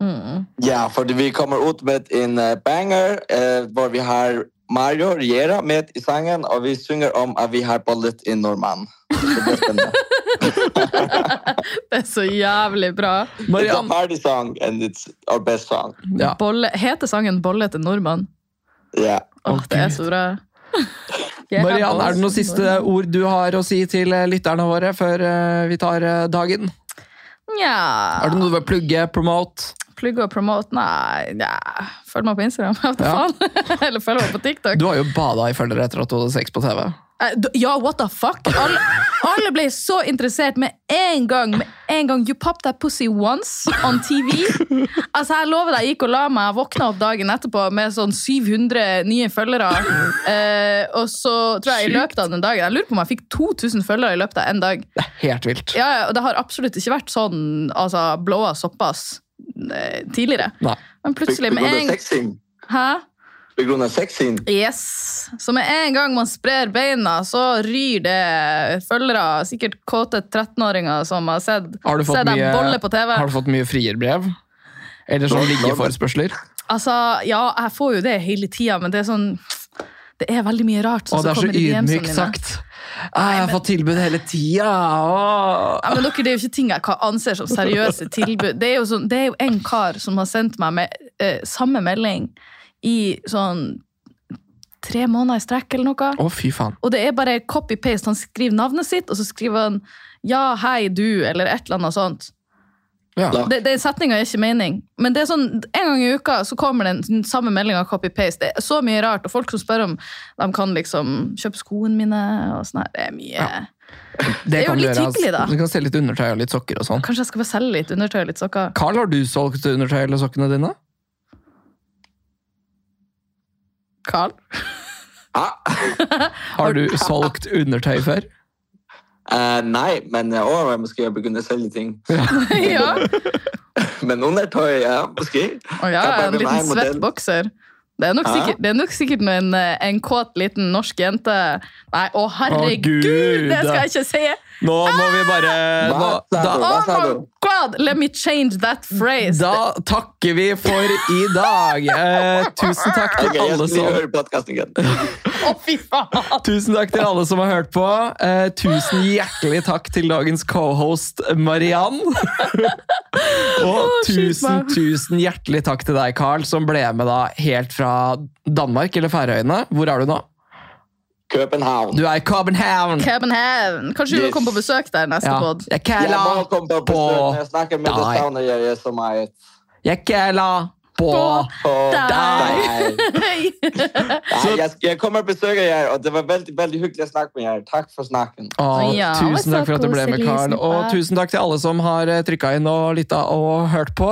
Speaker 2: Mm.
Speaker 3: Ja, for vi kommer ut med en eh, banger eh, hvor vi har Mario Riera med i sangen, og vi synger om at vi har bollet i nordmann. Det blir
Speaker 2: <laughs>
Speaker 3: spennende.
Speaker 2: Det er så jævlig bra.
Speaker 3: It's a
Speaker 1: Mariann,
Speaker 3: party song, and it's our best song.
Speaker 1: ja.
Speaker 2: Bolle, heter sangen 'Bolle til nordmann'?
Speaker 3: Ja.
Speaker 2: Åh,
Speaker 1: Å,
Speaker 2: det er
Speaker 1: Gud. <laughs>
Speaker 2: så bra. Jeg
Speaker 1: Mariann,
Speaker 2: bolle
Speaker 1: er det noen
Speaker 2: til
Speaker 1: siste
Speaker 2: nordmann.
Speaker 1: ord du har å si til eh, lytterne våre før eh, vi tar eh, dagen?
Speaker 2: Nja
Speaker 1: Er det noe du vil plugge, promote?
Speaker 2: Plugg og promote? Nei, nja. Følg meg på Instagram. <laughs> Hva
Speaker 1: Ja.
Speaker 2: faen? <laughs> Eller følg meg på TikTok.
Speaker 1: Du har jo bada i følgere etter at du hadde sex på TV.
Speaker 2: Eh, d- Ja, what the fuck? Alle, alle ble så interessert med en gang. Med en gang You popped that pussy once on TV. Altså, Jeg lover deg, jeg gikk og la meg, våkna opp dagen etterpå med sånn 700 nye følgere. Eh, og så tror jeg i løpet av den dagen Jeg lurer på om jeg fikk 2000 følgere i løpet av en dag.
Speaker 1: Det er helt vilt.
Speaker 2: Ja, ja, og Det har absolutt ikke vært sånn altså, blåa såpass eh, tidligere.
Speaker 1: Nei.
Speaker 2: Men plutselig med en
Speaker 3: sexing.
Speaker 2: Hæ?
Speaker 3: På grunn av sexing.
Speaker 2: Yes. Så med en gang man sprer beina, så ryr det følgere. Sikkert kåte 13-åringer som har sett,
Speaker 1: Har du fått
Speaker 2: sett dem
Speaker 1: mye-
Speaker 2: bolle på TV.
Speaker 1: Har du fått mye frierbrev? Eller sånn liggeforespørsler?
Speaker 2: Altså, ja, jeg får jo det hele tida, men det er sånn Det er veldig mye rart. sånn
Speaker 1: Å,
Speaker 2: som
Speaker 1: det er så
Speaker 2: kommer i DMs-ene
Speaker 1: ydmykt
Speaker 2: mine.
Speaker 1: sagt. Å, jeg har fått tilbud hele tida!
Speaker 2: Ja,
Speaker 1: Å.
Speaker 2: men dere, Det er jo ikke ting jeg ka- anser som seriøse tilbud. Det er jo, sånn, det er jo en kar som har sendt meg med eh, samme melding i sånn tre måneder i strekk eller noe.
Speaker 1: Å, fy faen.
Speaker 2: Og det er bare copy-paste. Han skriver navnet sitt, og så skriver han 'ja, hei, du', eller et eller annet sånt.
Speaker 1: Ja.
Speaker 3: La-
Speaker 2: Det, det Setninga gir ikke mening. Men det er sånn, en gang i uka så kommer den den samme meldinga copy-paste. Det er så mye rart. Og folk som spør om de kan liksom kjøpe skoene mine og sånn her. Det er mye. er jo
Speaker 1: kan du
Speaker 2: litt
Speaker 1: gjøre, ass.
Speaker 2: hyggelig, da.
Speaker 1: Du kan selge litt undertøy og litt sokker og sånn.
Speaker 2: Kanskje jeg skal bare selge litt undertøy og litt sokker?
Speaker 1: Carl, har du solgt undertøy eller sokkene dine?
Speaker 2: Carl?
Speaker 3: Ah,
Speaker 1: Har du solgt undertøy før?
Speaker 3: eh, nei, men jeg overveier måske å begynne å selge ting.
Speaker 2: <laughs> ja.
Speaker 3: <laughs> Men undertøy, ja, måske.
Speaker 2: Å ja,
Speaker 3: Ja,
Speaker 2: en
Speaker 3: bare meg,
Speaker 2: liten
Speaker 3: modell.
Speaker 2: svett bokser. Det er nok
Speaker 3: Hæ?
Speaker 2: sikkert, det er nok sikkert en, en kåt liten norsk jente Nei, å herregud!
Speaker 1: Gud.
Speaker 2: Det skal jeg ikke si!
Speaker 1: Nå må vi bare nå,
Speaker 3: Hva sa
Speaker 1: da,
Speaker 3: du?
Speaker 2: Oh
Speaker 3: Hva sa
Speaker 2: my
Speaker 3: du?
Speaker 2: god! Let me change that phrase!
Speaker 1: da takker vi for i dag. Eh, tusen takk
Speaker 3: Ok,
Speaker 1: til
Speaker 3: jeg
Speaker 1: alle
Speaker 3: skal lige
Speaker 1: som
Speaker 3: høre podcasten igjen.
Speaker 2: Å, fy faen!
Speaker 1: Tusen takk til alle som har hørt på. Eh, tusen hjertelig takk til dagens cohost Mariann. Og
Speaker 2: Å, skyt
Speaker 1: tusen,
Speaker 2: meg.
Speaker 1: tusen hjertelig takk til deg, Carl, som ble med da helt fra Danmark eller Færøyene. Hvor er du nå?
Speaker 3: København.
Speaker 1: Du er i København!
Speaker 2: København. Kanskje du vil
Speaker 3: Yes.
Speaker 2: komme på besøk der neste
Speaker 1: Ja.
Speaker 2: <laughs> pod?
Speaker 1: Jeg
Speaker 3: Jeg
Speaker 1: kæla
Speaker 3: må komme på besøk når jeg snakker med
Speaker 1: Nei.
Speaker 3: det savner jeg gjør så mye.
Speaker 1: Jeg kæla på
Speaker 2: På-
Speaker 3: På
Speaker 2: Nei.
Speaker 3: deg. Nei, jeg, jeg kommer og besøker jer, og det var veldig, veldig hyggelig å snakke med jer. Takk for snakken.
Speaker 1: Å,
Speaker 2: Ja, det
Speaker 1: tusen
Speaker 2: var
Speaker 1: takk for at du ble med,
Speaker 2: koselig,
Speaker 1: Carl. Og
Speaker 2: snippa.
Speaker 1: tusen takk til alle som har trykka inn og lytta og hørt på.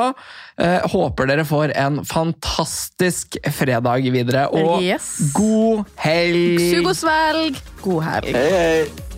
Speaker 1: Eh, håper dere får en fantastisk fredag videre. Og
Speaker 2: Yes.
Speaker 1: god helg!
Speaker 2: Sug og svelg. God helg.
Speaker 3: Hei, hei.